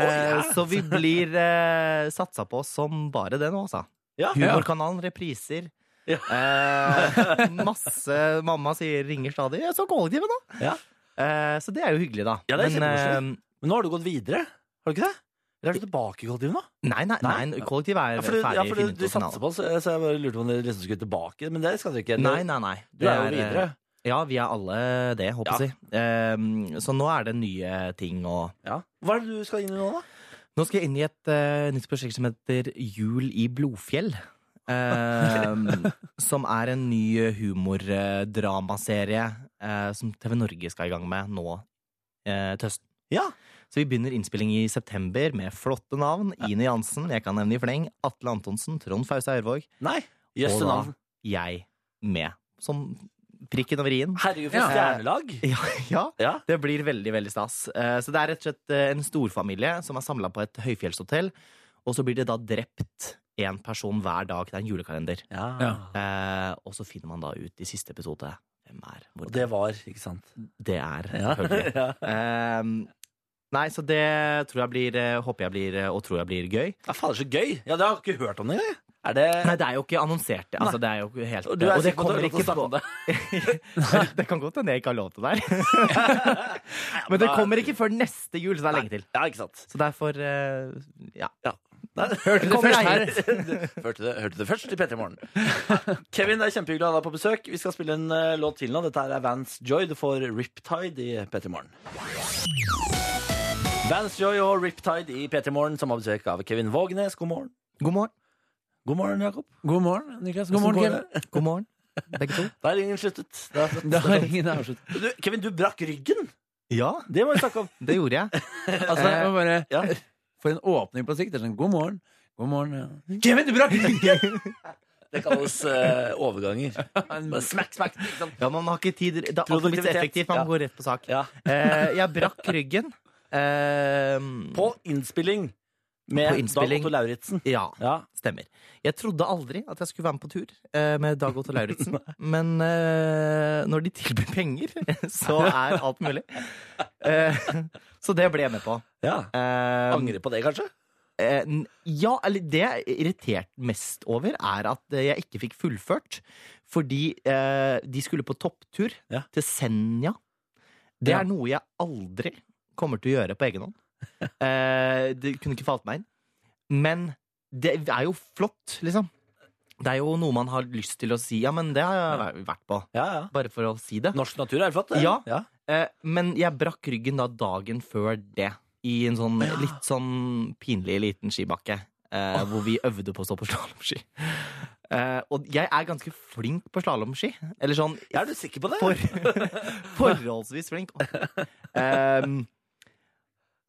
Speaker 2: Å, ja.
Speaker 5: Så vi blir eh, satsa på som bare det nå, altså.
Speaker 2: Ja.
Speaker 5: Humorkanalen, repriser.
Speaker 2: Ja.
Speaker 5: Eh, masse mamma sier, ringer stadig. Jeg så kollektivet, da!
Speaker 2: Ja.
Speaker 5: Eh, så det er jo hyggelig, da.
Speaker 2: Ja, det er
Speaker 5: Men, eh,
Speaker 2: Men nå har du gått videre, har du ikke det? Eller er du tilbake i kollektivet nå?
Speaker 5: eh, nei, nei,
Speaker 2: Nei.
Speaker 5: nei, kollektivet er
Speaker 2: Ja, for, du-
Speaker 5: ferdig.
Speaker 2: ja, for du, du
Speaker 5: finito finale.
Speaker 2: satser på oss, så jeg bare lurte på om dere liksom skulle tilbake. Men det skal dere ikke.
Speaker 5: Nei, nei, nei.
Speaker 2: du er jo
Speaker 5: Det
Speaker 2: videre.
Speaker 5: eh, Ja, vi er alle det, håper jeg å si. Eh, så nå er det nye ting og
Speaker 2: Ja. Hva er det du skal inn i nå, da?
Speaker 5: Nå skal jeg inn i et eh, nytt prosjekt som heter Jul i Blodfjell. Eh, som er en ny eh, humordramaserie eh, som TV Norge skal i gang med nå eh, til høsten.
Speaker 2: Ja.
Speaker 5: Så vi begynner innspilling i september med flotte navn. Ine Jansen, jeg kan nevne i fleng. Atle Antonsen, Trond Fausa Aurvåg.
Speaker 2: Nei. Jøss,
Speaker 5: Og
Speaker 2: det
Speaker 5: da
Speaker 2: navn.
Speaker 5: jeg med. Som prikken over i-en.
Speaker 2: Herregud, for
Speaker 3: Ja.
Speaker 2: stjernelag.
Speaker 5: Ja, ja.
Speaker 2: Ja.
Speaker 5: Det blir veldig veldig stas. Eh, Så det er rett og slett eh, en storfamilie som er samla på et høyfjellshotell. Og så blir det da drept én person hver dag. Det er en julekalender.
Speaker 2: Ja.
Speaker 3: Ja.
Speaker 5: Eh, Og så finner man da ut i siste episode hvem er hvor
Speaker 2: Og det var, ikke sant?
Speaker 5: Det er,
Speaker 2: Ja.
Speaker 5: selvfølgelig.
Speaker 2: ja.
Speaker 5: Eh, Nei, så det tror jeg blir eh, Håper jeg blir eh, og tror jeg blir gøy.
Speaker 2: Ja, fader, så gøy! Ja, det har jeg ikke hørt om det engang. Er det
Speaker 5: Nei, det er jo ikke annonsert. det. Altså, det er jo ikke helt
Speaker 2: Og du er
Speaker 5: og det
Speaker 2: sikker på at du har
Speaker 5: kommer
Speaker 2: lov til å
Speaker 5: ikke
Speaker 2: snakke
Speaker 5: på
Speaker 2: om det?
Speaker 5: Det kan godt hende jeg ikke har lov til det her. Men det kommer ikke før neste jul, så det er lenge til.
Speaker 2: Ja, ikke sant.
Speaker 5: Så derfor eh, ja.
Speaker 2: Ja. Nei,
Speaker 3: Hørte du
Speaker 5: Kommer
Speaker 3: først her?
Speaker 5: jeg.
Speaker 2: hørte, det, hørte det først i P3 Morgen. Kevin, det er kjempehyggelig å ha deg på besøk. Vi skal spille en eh, låt til nå. Dette her er Vance Joy. Du får Riptide i P3 Morgen. Vance Joy og Riptide i P3 Morgen, som har besøk av Kevin Vågenes. God morgen.
Speaker 5: God morgen.
Speaker 2: God morgen, Jakob.
Speaker 3: God morgen, Niklas. God
Speaker 2: Hvordan
Speaker 3: morgen,
Speaker 2: går
Speaker 3: Kevin.
Speaker 2: det?
Speaker 5: God morgen, begge to.
Speaker 2: Da er ringen sluttet. Det er flott.
Speaker 3: Da har ingen avsluttet.
Speaker 2: Du, Kevin, du brakk ryggen!
Speaker 5: Ja,
Speaker 2: Det må vi snakke om.
Speaker 5: det gjorde jeg.
Speaker 3: Altså, jeg må bare
Speaker 2: Ja.
Speaker 3: For en åpning på sikt. Det er sånn, god morgen. God morgen. Ja. Kevin, du brakk
Speaker 2: Det kalles eh, overganger. Bare Smack, smack. ikke sant?
Speaker 5: Ja, Man har ikke tid. Det er alltid blitt så effektivt. Man
Speaker 2: Ja.
Speaker 5: går rett på sak.
Speaker 2: Ja.
Speaker 5: Eh, jeg brakk ryggen. Eh,
Speaker 2: På innspilling med
Speaker 5: På innspilling.
Speaker 2: Dag Otto Lauritzen.
Speaker 5: Ja,
Speaker 2: Ja.
Speaker 5: stemmer. Jeg trodde aldri at jeg skulle være med på tur eh, med Dag Otto Lauritzen, men eh, når de tilbyr penger, så er alt mulig. Eh, så det ble jeg med på.
Speaker 2: ja.
Speaker 5: Eh,
Speaker 2: Angrer på det, kanskje?
Speaker 5: Eh, n- ja, eller det jeg er irritert mest over, er at eh, jeg ikke fikk fullført. Fordi eh, de skulle på topptur
Speaker 2: Ja.
Speaker 5: til Senja. Det
Speaker 2: Ja.
Speaker 5: er noe jeg aldri kommer til å gjøre på egen hånd. Eh, det kunne ikke falt meg inn. Men det er jo flott, liksom. Det er jo noe man har lyst til å si. Ja, men det har jeg væ- vært på.
Speaker 2: Ja, ja.
Speaker 5: Bare for å si det.
Speaker 2: Norsk natur er flott, det.
Speaker 5: Ja. Eh, men jeg brakk ryggen da dagen før det. I en sånn
Speaker 2: Ja.
Speaker 5: litt sånn pinlig liten skibakke. Eh, Hvor vi øvde på å stå på slalåmski. Eh, og jeg er ganske flink på slalåmski. Eller sånn
Speaker 2: Er du sikker på det?
Speaker 5: for, forholdsvis flink. Ehm,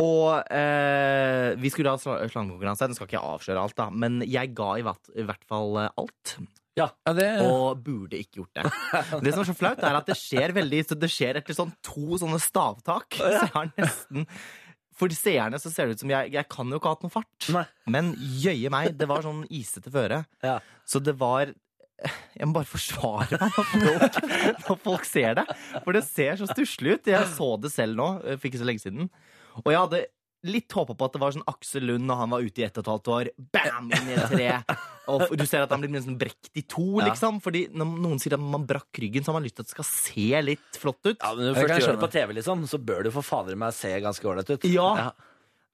Speaker 5: og eh, vi skulle ha sla- slangekonkurranse. Den skal ikke jeg avsløre alt, da. Men jeg ga i, hvert- i hvert fall eh, alt
Speaker 3: Ja, det
Speaker 5: og burde ikke gjort det. Det som er så flaut, er at det skjer veldig så Det skjer etter sånn to sånne stavtak. Så jeg har nesten For seerne så ser det ut som jeg, jeg kan jo ikke ha hatt noe fart.
Speaker 2: Nei.
Speaker 5: Men jøye meg, det var sånn isete føre.
Speaker 2: Ja.
Speaker 5: Så det var jeg må bare forsvare meg når folk, når folk ser det. For det ser så stusslig ut. Jeg så det selv nå, eh, for ikke så lenge siden. Og jeg hadde litt håpa på at det var sånn Aksel Lund når han var ute i ett og et halvt år. Bam! Inn i et tre. Og f- du ser at han blir nesten brekt i to,
Speaker 2: Ja.
Speaker 5: liksom. Fordi når noen sier at man brakk ryggen, så har man lyst til at det skal se litt flott ut.
Speaker 2: Ja, men Når du
Speaker 3: Det kan
Speaker 2: først
Speaker 3: jeg
Speaker 2: gjør det
Speaker 3: skjønne.
Speaker 2: på TV, liksom, så bør du for fader meg se ganske ålreit ut.
Speaker 5: Ja.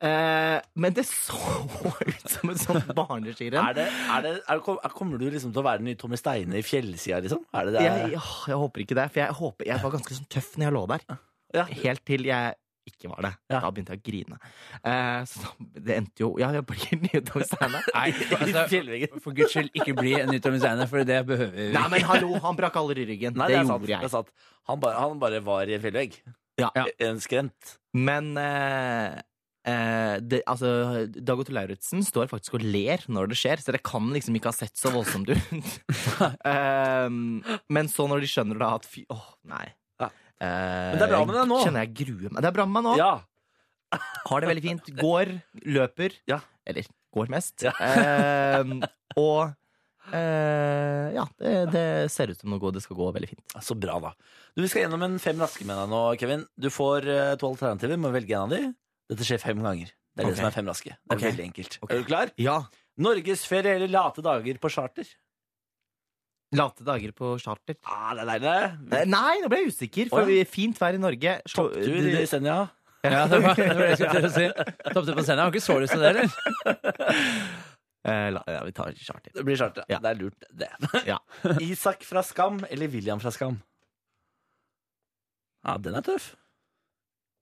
Speaker 5: Eh, men det så ut som et sånt barneskirenn.
Speaker 2: Er det, er det, er, kom- er, kommer du liksom til å være den nye Tommy Steine i fjellsida, liksom? Er det det?
Speaker 5: Jeg, åh, jeg håper ikke det, for jeg, håper, jeg var ganske sånn tøff når jeg lå der.
Speaker 2: Ja.
Speaker 5: Helt til jeg ikke var det.
Speaker 2: Ja.
Speaker 5: Da begynte jeg å grine. Eh, så da- det endte jo Ja, jeg blir nye Tommy Steine.
Speaker 3: Nei,
Speaker 2: I
Speaker 3: altså,
Speaker 2: fjellveggen.
Speaker 3: for guds skyld, ikke bli en ny Tommy Steine, for det behøver vi.
Speaker 5: Nei, men hallo, han brakk aldri ryggen.
Speaker 2: Nei,
Speaker 5: det,
Speaker 2: det er sant.
Speaker 5: gjorde
Speaker 2: Det er
Speaker 5: jeg.
Speaker 2: sant. Han, bare, han bare var i en fjellvegg.
Speaker 5: Ja.
Speaker 2: En skrent.
Speaker 5: Men eh, eh, det, altså, Dag Otto Lauritzen står faktisk og ler når det skjer, så det kan liksom ikke ha sett så voldsomt ut. Ehm, men så når de skjønner da at fy Åh, nei.
Speaker 2: Ja.
Speaker 5: Eh,
Speaker 2: Men det er bra med deg nå.
Speaker 5: Kjenner jeg gruer meg. Det er bra med meg nå.
Speaker 2: Ja.
Speaker 5: Har det veldig fint. Går, løper.
Speaker 2: Ja.
Speaker 5: Eller går mest.
Speaker 2: Ja.
Speaker 5: Ehm, og eh, ja, det, det ser ut som noe det skal gå veldig fint.
Speaker 2: Så bra, da. Du, Vi skal gjennom en fem raske med deg nå, Kevin. Du får eh, to alternativer, må velge en av de. Dette skjer fem ganger. Det er
Speaker 5: Ok.
Speaker 2: det som er fem raske. Det er
Speaker 5: Ok.
Speaker 2: veldig enkelt.
Speaker 5: Ok.
Speaker 2: Er du klar?
Speaker 5: Ja.
Speaker 2: Norgesferie eller late dager på charter?
Speaker 5: Late dager på charter.
Speaker 2: Ah, det er deilig.
Speaker 5: Eh, Nei, nå ble jeg usikker, for
Speaker 2: Å, ja.
Speaker 5: vi- fint vær i Norge. Slå-
Speaker 2: Topptur i Senja.
Speaker 3: Ja, det var, det var det jeg skulle til å si. Topptur på scenen. Jeg har ikke så lyst til det, eller?
Speaker 5: Eh, la, ja, vi tar charter.
Speaker 2: Det blir charter.
Speaker 5: Ja.
Speaker 2: Det er lurt, det.
Speaker 5: Ja.
Speaker 2: Isak fra Skam eller William fra Skam? Ja, den er tøff.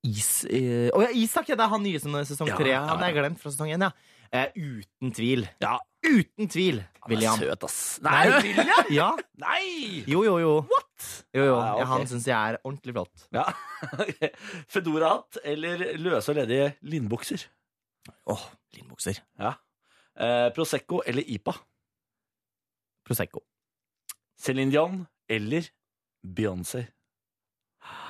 Speaker 5: Is, eh, å ja, Isak, ja, det er han nye som er i sesong
Speaker 2: Ja,
Speaker 5: tre.
Speaker 2: ja,
Speaker 5: Han
Speaker 2: ja.
Speaker 5: er glemt fra sesong én, ja. Eh, uten tvil.
Speaker 2: Ja.
Speaker 5: Uten tvil, William.
Speaker 2: Han er søt, ass. Nei! William!
Speaker 5: Ja.
Speaker 2: Nei!
Speaker 5: Jo, jo, jo. What? Jo, jo.
Speaker 2: Ja, ok.
Speaker 5: Ja, han syns jeg er ordentlig flott.
Speaker 2: Ja. Fedorahatt eller løse og ledige linbukser?
Speaker 5: Åh, linbukser.
Speaker 2: Ja. Eh, Prosecco eller IPA?
Speaker 5: Prosecco.
Speaker 2: Céline Dion eller Beyoncé?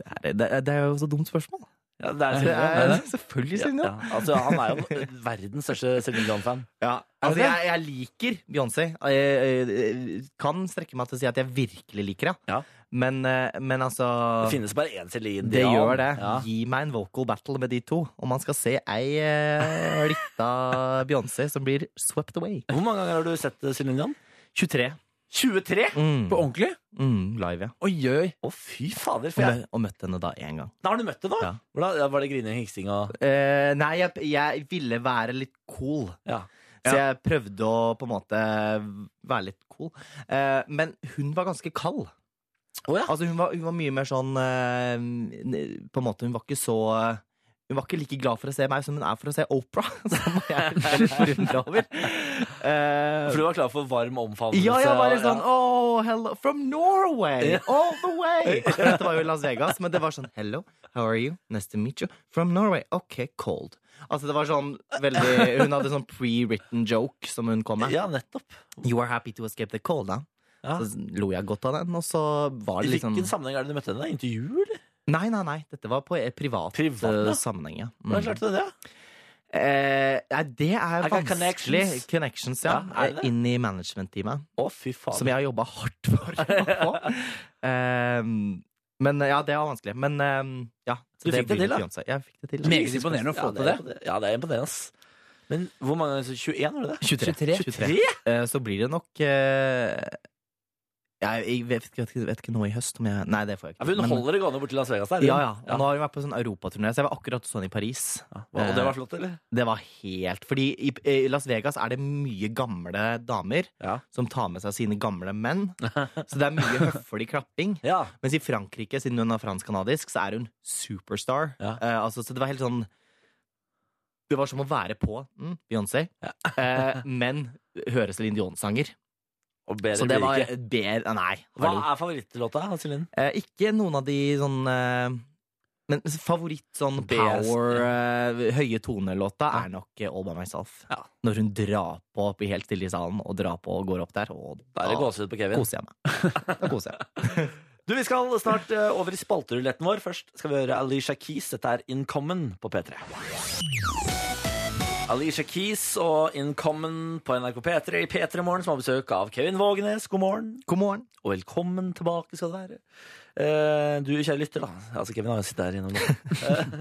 Speaker 5: Det er, det, er- det er jo så dumt spørsmål.
Speaker 2: Ja, det
Speaker 5: Det
Speaker 2: Ja,
Speaker 5: er, selvfølgelig
Speaker 2: ja,
Speaker 5: Céline
Speaker 2: ja.
Speaker 5: Dion.
Speaker 2: Altså, han er jo verdens største Céline Dion-fan.
Speaker 5: Ja. Altså,
Speaker 2: det?
Speaker 5: jeg, jeg liker Beyoncé. Jeg, jeg, jeg kan strekke meg til å si at jeg virkelig liker henne.
Speaker 2: Ja.
Speaker 5: Men, eh, men altså
Speaker 2: Det finnes bare én Céline
Speaker 5: Det
Speaker 2: Dion.
Speaker 5: gjør det.
Speaker 2: Ja.
Speaker 5: Gi meg en vocal battle med de to. Om man skal se ei eh, lita Beyoncé som blir swept away.
Speaker 2: Hvor mange ganger har du sett eh, Céline Dion?
Speaker 5: 23.
Speaker 2: 23?
Speaker 5: Mm.
Speaker 3: På ordentlig?
Speaker 5: Mm, live, ja.
Speaker 3: Oi, oi.
Speaker 2: Å, fy fader.
Speaker 5: Og,
Speaker 2: For jeg,
Speaker 5: mø- og møtt henne da én gang.
Speaker 2: da har du møtt henne, da?
Speaker 5: Ja.
Speaker 2: Hvordan, var det grining og hiksing og
Speaker 5: Eh, nei, jeg, jeg ville være litt cool.
Speaker 2: Ja.
Speaker 5: Så jeg prøvde å på en måte være litt cool. Eh, men hun var ganske kald.
Speaker 2: Å, ja.
Speaker 5: Altså hun var, hun var mye mer sånn eh, n- På en måte, hun var ikke så Hun var ikke like glad for å se meg som hun er for å se Opera. Som jeg er litt forundra over. Eh,
Speaker 2: For du var klar for varm omfavnelse?
Speaker 5: ja, jeg var litt
Speaker 2: og-
Speaker 5: sånn Oh, hello From Norway! All the way! Dette var jo Las Vegas, men det var sånn Hello, how are you? Nice to meet you. From Norway. Ok, cold. Altså, det var sånn veldig Hun hadde sånn pre-written joke som hun kom med.
Speaker 2: Ja, nettopp.
Speaker 5: You are happy to escape the cold, da?
Speaker 2: Ja.
Speaker 5: Så lo jeg godt av den, og så var det liksom
Speaker 2: Hvilken sammenheng er det du møtte henne? da? Intervju, eller?
Speaker 5: Nei, nei, nei. Dette var på eh, privat,
Speaker 2: Privat,
Speaker 5: eh,
Speaker 2: ja.
Speaker 5: sammenheng, ja.
Speaker 2: Hvordan
Speaker 5: Mm.
Speaker 2: klarte du det?
Speaker 5: Eh, nei, det er
Speaker 2: I got
Speaker 5: vanskelig.
Speaker 2: connections.
Speaker 5: Connections, ja. Eh,
Speaker 2: Ja, er det?
Speaker 5: Inn i management-teamet.
Speaker 2: Å, fy faen.
Speaker 5: Som jeg har jobba hardt for å få. Ehm, men ja, det var vanskelig. Men ehm, ja. så
Speaker 2: Du fikk det
Speaker 5: blir
Speaker 2: til, da?
Speaker 5: Beyoncé. Jeg fikk det til.
Speaker 3: Meget imponerende å få til
Speaker 2: ja,
Speaker 3: det.
Speaker 2: er imponerende. Ja, det er imponerende, ass. Men hvor mange ganger? 21, var det det?
Speaker 5: 23. 23. Eh, så blir det nok eh, jeg, jeg vet, ikke- vet, ikke- vet ikke nå i høst om jeg Nei, det får jeg
Speaker 2: Ja,
Speaker 5: ikke.
Speaker 2: for hun
Speaker 5: Men-
Speaker 2: holder det gående bort til Las Vegas der. hun.
Speaker 5: ja, ja. Og nå har hun vært på sånn europaturné, så jeg var akkurat sånn i Paris.
Speaker 2: Ja. Og det var flott, eller?
Speaker 5: Det var helt Fordi i, i Las Vegas er det mye gamle damer
Speaker 2: Ja.
Speaker 5: som tar med seg sine gamle menn. Så det er mye høflig klapping.
Speaker 2: Ja.
Speaker 5: Mens i Frankrike, siden hun er fransk-kanadisk, så er hun superstar.
Speaker 2: Ja.
Speaker 5: Eh, altså, så det var helt sånn Det var som å være på mm, Beyoncé, eh, men høre Céline Dion-sanger.
Speaker 2: Og bedre
Speaker 5: Så det var
Speaker 2: blir det ikke.
Speaker 5: ber, Nei.
Speaker 2: Hva
Speaker 5: hallo.
Speaker 2: er favorittlåta hans, Linn?
Speaker 5: Eh, ikke noen av de sånn eh, Men favoritt sånn
Speaker 2: Best,
Speaker 5: power, eh, høye tonelåta er nok eh, All By Myself.
Speaker 2: Ja.
Speaker 5: Når hun drar på, blir helt stille i salen, og drar på og går opp der, og
Speaker 2: Da er det gåsehud på Kevin.
Speaker 5: koser jeg meg. Da koser jeg meg.
Speaker 2: Du, Vi skal snart eh, over i spalteruletten vår. Først skal vi høre Alicia Keys. Dette er Incommon på P3. Alicia Keys og Incommon på NRK P3 i P3 Morgen, som har besøk av Kevin Vågenes. God morgen.
Speaker 5: God morgen.
Speaker 2: Og velkommen tilbake skal du være. Eh, du kjære lytter, da. Altså, Kevin har jo sittet her innom nå. Eh,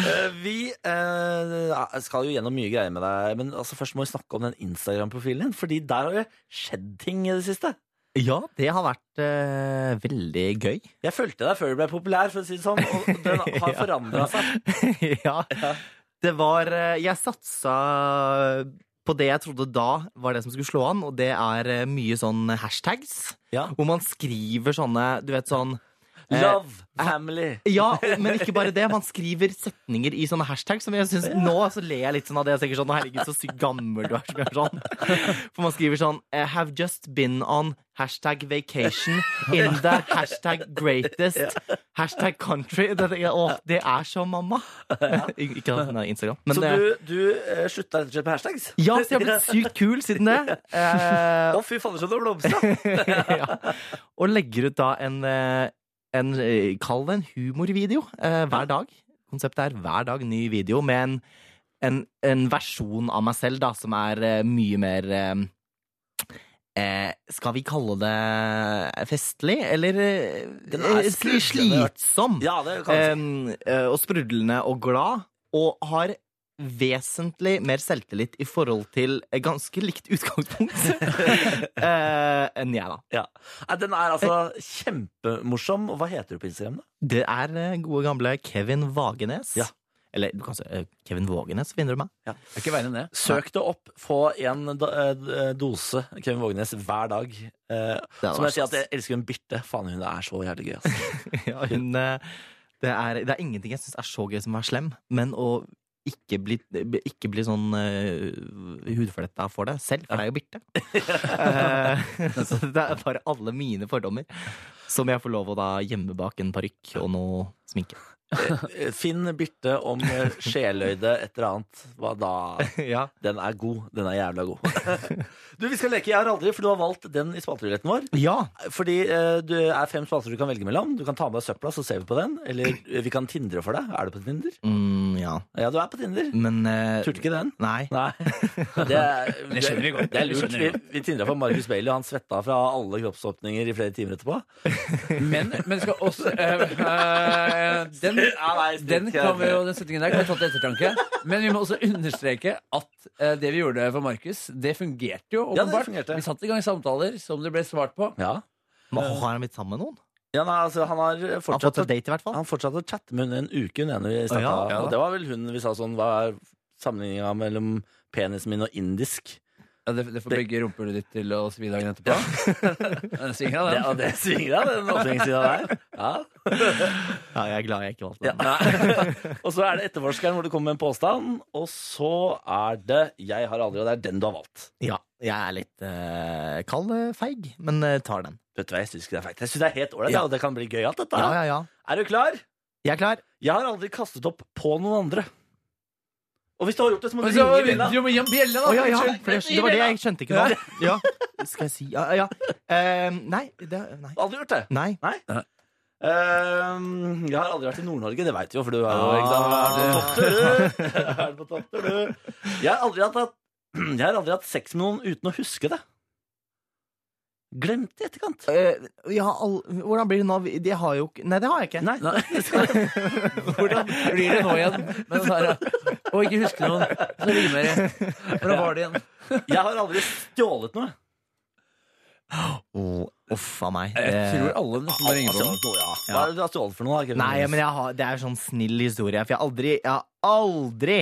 Speaker 2: eh, vi eh, skal jo gjennom mye greier med deg, men altså, først må vi snakke om den Instagram-profilen din. Fordi der har det skjedd ting i det siste.
Speaker 5: Ja, det har vært eh, veldig gøy.
Speaker 2: Jeg fulgte deg før du ble populær, for å si det sånn, og den har
Speaker 5: Ja.
Speaker 2: forandra seg.
Speaker 5: ja. Det var eh, Jeg satsa på det jeg trodde da var det som skulle slå an, og det er eh, mye sånn hashtags.
Speaker 2: Ja.
Speaker 5: Hvor man skriver sånne, du vet sånn
Speaker 2: Eh, Love, family.
Speaker 5: Ja, og- men ikke bare det. Man skriver setninger i sånne hashtag som jeg synes Nå så ler jeg litt sånn av det. Jeg tenker sånn, «Å, herregud, så sykt gammel du er. som gjør Sånn. For man skriver sånn eh, Have just been on hashtag vacation in the hashtag greatest hashtag country. Da tenker jeg, Å, det er så mamma. Ik- Ikke at hun har Instagram. Men
Speaker 2: Så
Speaker 5: det-
Speaker 2: du, du eh, slutta rett og slett med hashtags?
Speaker 5: ja, så jeg har blitt sykt kul siden det. Eh,
Speaker 2: Å, fy fader, så du har blomstra!
Speaker 5: ja. Og legger ut da en, eh, en eh, Kall det en humorvideo eh, hver dag. Konseptet er hver dag ny video med en, en, en versjon av meg selv da, som er eh, mye mer eh, eh, Skal vi kalle det festlig? Eller eh,
Speaker 2: Den er
Speaker 5: eh, sli-
Speaker 2: sprudlende.
Speaker 5: slitsom?
Speaker 2: Ja, det kan jeg si.
Speaker 5: Eh, eh, og sprudlende og glad. Og har vesentlig mer selvtillit i forhold til eh, ganske likt utgangspunkt eh, enn jeg, da.
Speaker 2: Ja. Nei, Den er altså kjempemorsom. Og Hva heter du på Instagram, da?
Speaker 5: Det er eh, gode gamle Kevin Vagenes.
Speaker 2: Ja.
Speaker 5: Eller du kan si eh, Kevin Vågenes, finner du meg.
Speaker 3: Det er ikke verre enn det.
Speaker 2: Søk det opp. Få en da- eh, dose Kevin Vågenes hver dag. Eh,
Speaker 5: Det hadde
Speaker 2: som jeg
Speaker 5: vært
Speaker 2: sier at jeg elsker hun Birte. Faen, hun er så jævlig gøy, altså. ass.
Speaker 5: sånn. ja, hun, eh, det, er, det er ingenting jeg syns er så gøy som å være slem, men å ikke bli, ikke bli sånn uh, hudfletta for det selv, for det er jo Birte. Eh, så det er bare alle mine fordommer som jeg får lov å da gjemme bak en parykk og noe sminke.
Speaker 2: Eh, Finn Birte om eh, sjeløyde, et eller annet. Hva da?
Speaker 5: ja.
Speaker 2: Den er god. Den er jævla god. Du, Vi skal leke Jeg har aldri, for du har valgt den i spalteruletten vår.
Speaker 5: ja.
Speaker 2: Fordi eh, du er fem spalter du kan velge mellom. Du kan ta med deg søpla, så ser vi på den. Eller eh, vi kan tindre for deg. Er du på Tinder?
Speaker 5: Mm, ja.
Speaker 2: Ja, du er på Tinder.
Speaker 5: Men eh,
Speaker 2: Turte ikke den.
Speaker 5: Nei.
Speaker 2: Nei. Det, er-
Speaker 3: Det skjønner vi godt.
Speaker 2: Det er
Speaker 3: Det
Speaker 2: lurt.
Speaker 3: skjønner
Speaker 2: Vi,
Speaker 3: vi
Speaker 2: vi tindra for Marcus Bailey, og han svetta fra alle kroppsåpninger i flere timer etterpå.
Speaker 3: Men, men skal også eh, eh, den, den, kan vi jo, den setningen der kan vi ta til ettertanke. Men vi må også understreke at eh, det vi gjorde for Markus, det fungerte jo.
Speaker 2: Ja, det
Speaker 3: åpenbart.
Speaker 2: fungerte.
Speaker 3: Vi satt i gang samtaler som det ble svart på.
Speaker 2: Ja.
Speaker 5: Men Har han blitt sammen med noen?
Speaker 2: Ja, nei, altså, han har
Speaker 5: Han har fått
Speaker 2: fortsatt
Speaker 5: seg date, i hvert fall.
Speaker 2: Han fortsatte å chatte med henne en uke hun ene vi snakket
Speaker 5: ja, ja.
Speaker 2: Og det var vel hun vi sa sånn Hva er sammenligninga mellom penisen min og indisk?
Speaker 3: Ja, det, det får begge rumpehullet ditt til å svi dagen etterpå. Den svinga,
Speaker 2: Det,
Speaker 3: den.
Speaker 2: og det svingra, den åpningssida der. Ja.
Speaker 5: Ja, jeg er glad jeg ikke valgte
Speaker 2: Ja.
Speaker 5: den.
Speaker 2: Nei. Og så er det etterforskeren hvor det kommer med en påstand. Og så er det 'Jeg har aldri', og det er den du har valgt.
Speaker 5: Ja, jeg er litt eh, kald eh, feig, men eh, tar den.
Speaker 2: Vet du hva, Jeg syns ikke det er feigt. Jeg syns det er helt ålreit, ja, og det kan bli gøyalt, dette.
Speaker 5: Ja,
Speaker 2: her.
Speaker 5: ja, ja.
Speaker 2: Er du klar?
Speaker 5: Jeg er klar.
Speaker 2: Jeg har aldri kastet opp på noen andre. Og hvis du har gjort det, så må du
Speaker 3: Men så
Speaker 2: ringe Lilla.
Speaker 3: du må gi ham bjelle, da!
Speaker 5: Å, ja, ja. For det, det var det jeg skjønte ikke nå. Ja. Skal jeg si Ja, ja. Eh, nei, det Nei.
Speaker 2: Aldri gjort det.
Speaker 5: nei.
Speaker 2: Ehm, jeg har aldri vært i Nord-Norge, det veit du jo, for du er jo ikke sant,
Speaker 3: Ah.
Speaker 2: er på topptur, du. Er på topptur, du. Jeg har aldri hatt, hatt jeg har aldri hatt sex med noen uten å huske det. Glemt i etterkant.
Speaker 5: Eh, jeg har all, hvordan blir det nå? Vi- Det har jo ikke Nei, det har jeg ikke.
Speaker 2: Nei.
Speaker 3: Hvordan blir det nå igjen? Men så er det Å, ikke huske noen. Så rimer jeg. Hvordan var det igjen?
Speaker 2: Jeg har aldri stjålet noe.
Speaker 5: Å, Uff a meg.
Speaker 3: Jeg
Speaker 5: Eh,
Speaker 3: tror alle nesten må ringe på den.
Speaker 2: Stjålet noe, Altså, ja. Hva er det du har stjålet for noe? da, Kevin?
Speaker 5: nei, men jeg har, det er sånn snill historie, for jeg har aldri, jeg har aldri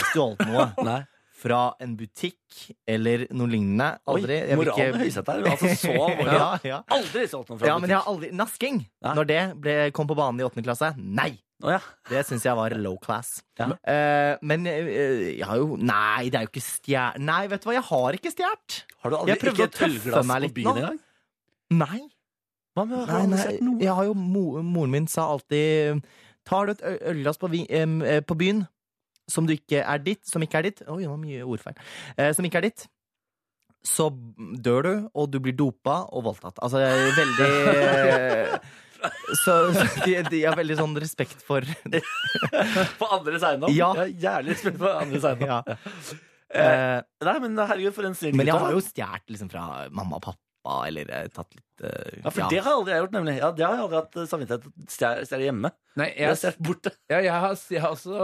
Speaker 5: stjålet noe
Speaker 2: Nei.
Speaker 5: fra en butikk eller noe lignende.
Speaker 2: Oi,
Speaker 5: Aldri. Jeg vil
Speaker 2: moralen i Høyesterett her. Altså, så alvorlig.
Speaker 5: ja, ja.
Speaker 2: Aldri stjålet noe fra
Speaker 5: Ja, men jeg
Speaker 2: butikk.
Speaker 5: har aldri Nasking!
Speaker 2: Nei.
Speaker 5: Når det ble, kom på banen i åttende klasse. Nei!
Speaker 2: Å, ja.
Speaker 5: Det syns jeg var low class.
Speaker 2: Ja.
Speaker 5: Eh, men eh, jeg har jo Nei, det er jo ikke stjålet Nei, vet du hva, jeg har ikke stjålet!
Speaker 2: Har du aldri
Speaker 5: Jeg prøvde
Speaker 2: ikke
Speaker 5: å
Speaker 2: et
Speaker 5: tøffe
Speaker 2: ølglass
Speaker 5: meg
Speaker 2: på
Speaker 5: litt
Speaker 2: byen
Speaker 5: nå.
Speaker 2: engang?
Speaker 5: Nei.
Speaker 2: Hva med
Speaker 5: nei,
Speaker 2: har du
Speaker 5: nei
Speaker 2: sett noe?
Speaker 5: jeg har jo mo, Moren min sa alltid Tar du et ø- ølglass på, vi, em, eh, på byen som du ikke er ditt Som ikke er ditt Oi, det var mye ordfeil. Eh, som ikke er ditt. Så dør du, og du blir dopa og voldtatt. Altså, jeg er veldig eh, Så, så de, de har veldig sånn respekt for
Speaker 2: På andres eiendom?
Speaker 5: Ja.
Speaker 2: Jeg er Jævlig spent på andres eiendom.
Speaker 5: ja. Eh,
Speaker 2: Nei, men herregud, for en snill
Speaker 5: Men jeg
Speaker 2: gutt, da.
Speaker 5: har jo stjålet liksom fra mamma og pappa, eller eh, tatt litt eh,
Speaker 2: Ja, for det har aldri jeg gjort, nemlig. Ja, det har jeg aldri hatt eh, samvittighet til å stjæ- stjele hjemme.
Speaker 3: Nei,
Speaker 2: Jeg har
Speaker 3: jeg,
Speaker 2: stjålet borte.
Speaker 3: ja, jeg, har, jeg har også,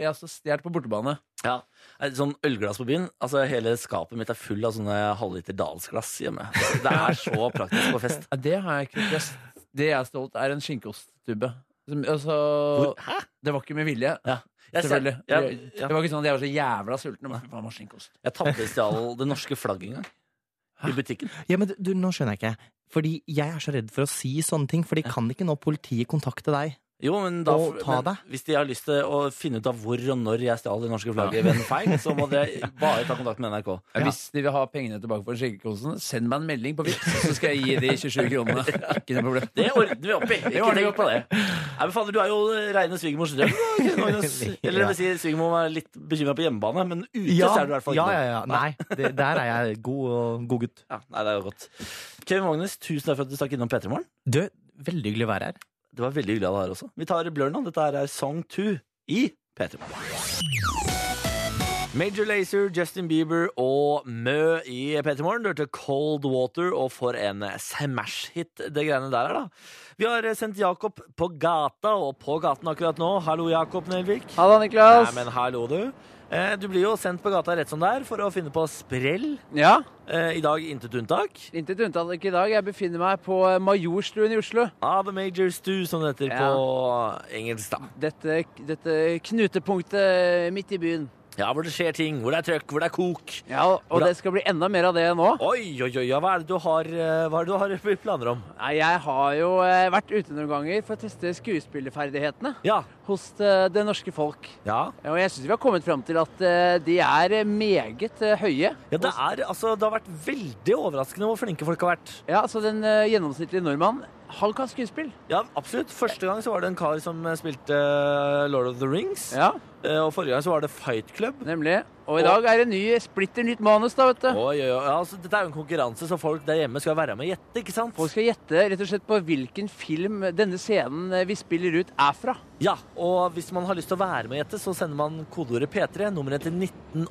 Speaker 3: jeg har også stjålet på bortebane.
Speaker 2: Ja. Eh, Sånn ølglass på byen. Altså, hele skapet mitt er full av sånne halvliter Dalsglass hjemme. Det er så praktisk på fest.
Speaker 3: Ja, det har jeg ikke. Jeg- Det jeg har stjålet, er en skinkeosttube. Som- Altså,
Speaker 2: Hvor- Hæ?
Speaker 3: det var ikke med vilje.
Speaker 2: Ja. Jeg, stjal-
Speaker 3: Selvfølgelig.
Speaker 2: jeg,
Speaker 3: Det
Speaker 2: jeg,
Speaker 3: var ikke sånn at jeg var så jævla sulten. Men, faen, hva skinkeost?
Speaker 2: jeg tapte stjal det norske flagget en gang. i butikken.
Speaker 5: Ja, men du, du, nå skjønner jeg ikke. Fordi jeg er så redd for å si sånne ting, for de kan ikke nå politiet kontakte deg.
Speaker 2: Jo, men da,
Speaker 5: Og ta
Speaker 2: men
Speaker 5: deg.
Speaker 2: hvis de har lyst til å finne ut av hvor og når jeg stjal det norske flagget ved en feil, så må dere bare ta kontakt med NRK.
Speaker 3: Ja. Hvis de vil ha pengene tilbake for skjenkekosen, send meg en melding på Vipps, så skal jeg gi de 27 kronene. Ikke noe problem.
Speaker 2: Det ordner vi opp i. Ikke
Speaker 3: ordner vi
Speaker 2: tenk på det. Nei, men faen, du er jo reine svigermors drøm. da, Magnus. Eller det vil si, svigermor er litt bekymra på hjemmebane, men ute så er du i hvert fall
Speaker 5: ja,
Speaker 2: ikke noe.
Speaker 5: ja, ja. Nei, det, der er jeg god, og- god gutt.
Speaker 2: Ja, nei, det er jo godt. Kevin Magnus, tusen takk for at du stakk innom P3 Morgen.
Speaker 5: Du, veldig hyggelig å være her.
Speaker 2: Det var veldig hyggelig av deg her også. Vi tar Blur nå. Dette her er Song 2 i P3 Morgen. Major Lazer, Justin Bieber og Mø i P3 Morgen. Du hørte Cold Water, og for en smash-hit det greiene der er, da. Vi har sendt Jakob på gata, og på gaten akkurat nå. Hallo, Jakob Nelvik.
Speaker 3: Halla, Niklas.
Speaker 2: Nei, men hallo, du. Eh, Du blir jo sendt på gata rett som det er for å finne på sprell.
Speaker 3: Ja,
Speaker 2: Eh, I dag intet unntak.
Speaker 3: intet unntak ikke i dag. Jeg befinner meg på eh, Majorstuen i Oslo.
Speaker 2: Ah, the Major Stew, som det heter
Speaker 3: Ja.
Speaker 2: på engelsk, da.
Speaker 3: Dette, dette knutepunktet midt i byen.
Speaker 2: Ja, hvor det skjer ting, hvor det er trøkk, hvor det er kok.
Speaker 3: Ja, og det skal bli enda mer av det nå.
Speaker 2: Oi, oi, oi, ja, hva er det du har, eh, hva er det du har planer om?
Speaker 3: Nei, Jeg har jo eh, vært ute noen ganger for å teste skuespillerferdighetene
Speaker 2: Ja.
Speaker 3: hos eh, det norske folk.
Speaker 2: Ja,
Speaker 3: Og jeg syns vi har kommet fram til at eh, de er eh, meget eh, høye.
Speaker 2: ja det, er, altså, det har vært veldig overraskende hvor flinke folk har vært.
Speaker 3: Ja, så den eh, gjennomsnittlige nordmann, han kan skuespill.
Speaker 2: Ja, absolutt. Første gang så var det en kar som eh, spilte eh, Lord of the Rings.
Speaker 3: Ja,
Speaker 2: Eh, Og forrige gang så var det Fight Club.
Speaker 3: nemlig. Og i dag er det ny, splitter nytt manus, da, vet du.
Speaker 2: Oi, oi, oi. Ja, altså, dette er jo en konkurranse, så folk der hjemme skal være med og gjette, ikke sant?
Speaker 3: Folk skal gjette rett og slett på hvilken film denne scenen eh, vi spiller ut, er fra.
Speaker 2: Ja, og hvis man har lyst til å være med og gjette, så sender man kodeordet P3, nummeret til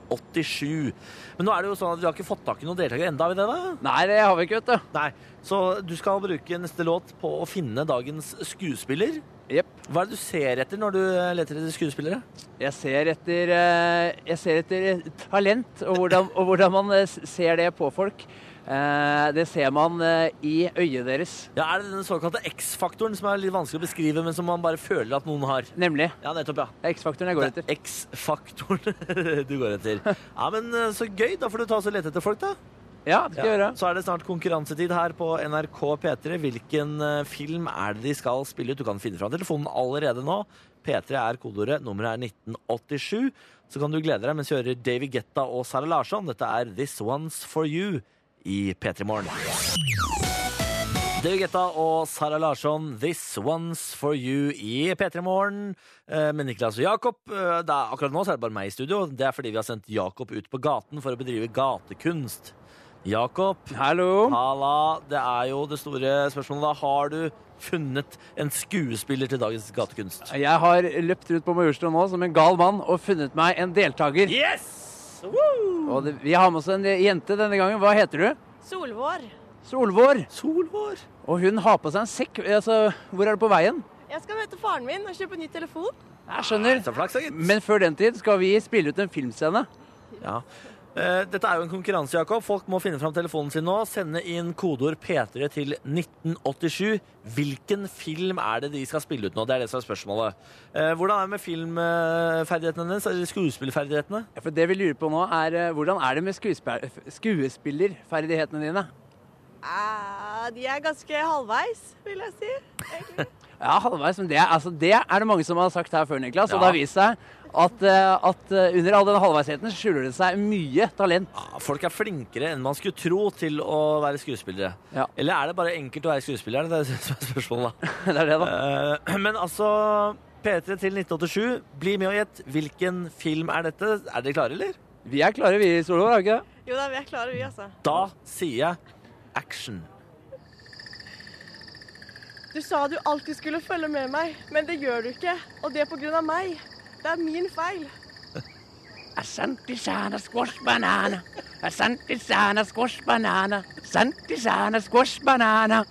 Speaker 2: 1987. Men nå er det jo sånn at vi har ikke fått tak i noen deltakere enda, har vi det da?
Speaker 3: Nei, det har vi ikke, vet du.
Speaker 2: Nei, så du skal bruke neste låt på å finne dagens skuespiller.
Speaker 3: Jepp.
Speaker 2: Hva er det du ser etter når du leter etter skuespillere?
Speaker 3: Jeg ser etter, eh, jeg ser etter talent og hvordan, og hvordan man eh, s- ser det på folk. Eh, Det ser man eh, i øyet deres,
Speaker 2: Ja, Er det den såkalte X-faktoren som er litt vanskelig å beskrive, men som man bare føler at noen har?
Speaker 3: nemlig.
Speaker 2: Ja, nettopp, ja.
Speaker 3: Det er X-faktoren jeg går etter.
Speaker 2: X-faktoren du går etter. Ja, men eh, så gøy. Da får du ta oss og lete etter folk, da.
Speaker 3: Ja, det skal jeg gjøre.
Speaker 2: Så er det snart konkurransetid her på NRK P3. Hvilken eh, film er det de skal spille ut? Du kan finne fram telefonen allerede nå. P3 er kodeordet. Nummeret er 1987. Så kan du glede deg mens du hører Davy Getta og Sara Larsson. Dette er This One's For You i P3 Morgen. Davy Getta og Sara Larsson, This One's For You i P3 Morgen. Eh, Med Niklas og Jakob. Eh, Det er, akkurat nå så er det bare meg i studio. Det er fordi vi har sendt Jakob ut på gaten for å bedrive gatekunst. Jakob,
Speaker 3: Hallo.
Speaker 2: Halla, det er jo det store spørsmålet. Da har du funnet en skuespiller til dagens gatekunst?
Speaker 3: Jeg har løpt rundt på Majorstua nå som en gal mann og funnet meg en deltaker.
Speaker 2: Yes!
Speaker 3: Og det, vi har med oss en jente denne gangen. Hva heter du?
Speaker 6: Solvår.
Speaker 3: Solvår.
Speaker 2: Solhår.
Speaker 3: Og hun har på seg en sekk. Altså, hvor er du på veien?
Speaker 6: Jeg skal møte faren min og kjøpe ny telefon.
Speaker 3: Jeg skjønner.
Speaker 2: Så flaks, da, gitt.
Speaker 3: Men før den tid skal vi spille ut en filmscene.
Speaker 2: Ja. Eh, Dette er jo en konkurranse, Jakob. Folk må finne fram telefonen sin nå. Sende inn kodeord P3 til 1987. Hvilken film er det de skal spille ut nå? Det er det som er spørsmålet. Eh, Hvordan er det med filmferdighetene hennes? Eller skuespillferdighetene?
Speaker 3: Ja, For det vi lurer på nå er eh, hvordan er det med skuespil skuespillerferdighetene dine?
Speaker 6: Eh, de er ganske halvveis, vil jeg si. egentlig.
Speaker 3: Ja, halvveis, men det, er- altså, det er det mange som har sagt her før, Niklas.
Speaker 2: Ja.
Speaker 3: Og det har vist seg at, eh, at eh, under all den halvveisheten skjuler det seg mye talent.
Speaker 2: Ja, Folk er flinkere enn man skulle tro til å være skuespillere.
Speaker 3: Ja.
Speaker 2: Eller er det bare enkelt å være skuespiller? Det er det som er spørsmålet. da.
Speaker 3: det er det, da.
Speaker 2: Eh, Men altså, P3 til 1987, bli med og gjett. Hvilken film er dette? Er dere klare, eller?
Speaker 3: Vi er klare, vi, Solvår. Er vi ikke det?
Speaker 6: Jo da, vi er klare, vi, altså.
Speaker 2: Da sier jeg action.
Speaker 6: Du sa du alltid skulle følge med meg, men det gjør du ikke. Og det er på grunn av meg. Det er min feil.
Speaker 3: Santisana squash banana. Santisana squash banana. Santisana squash banana.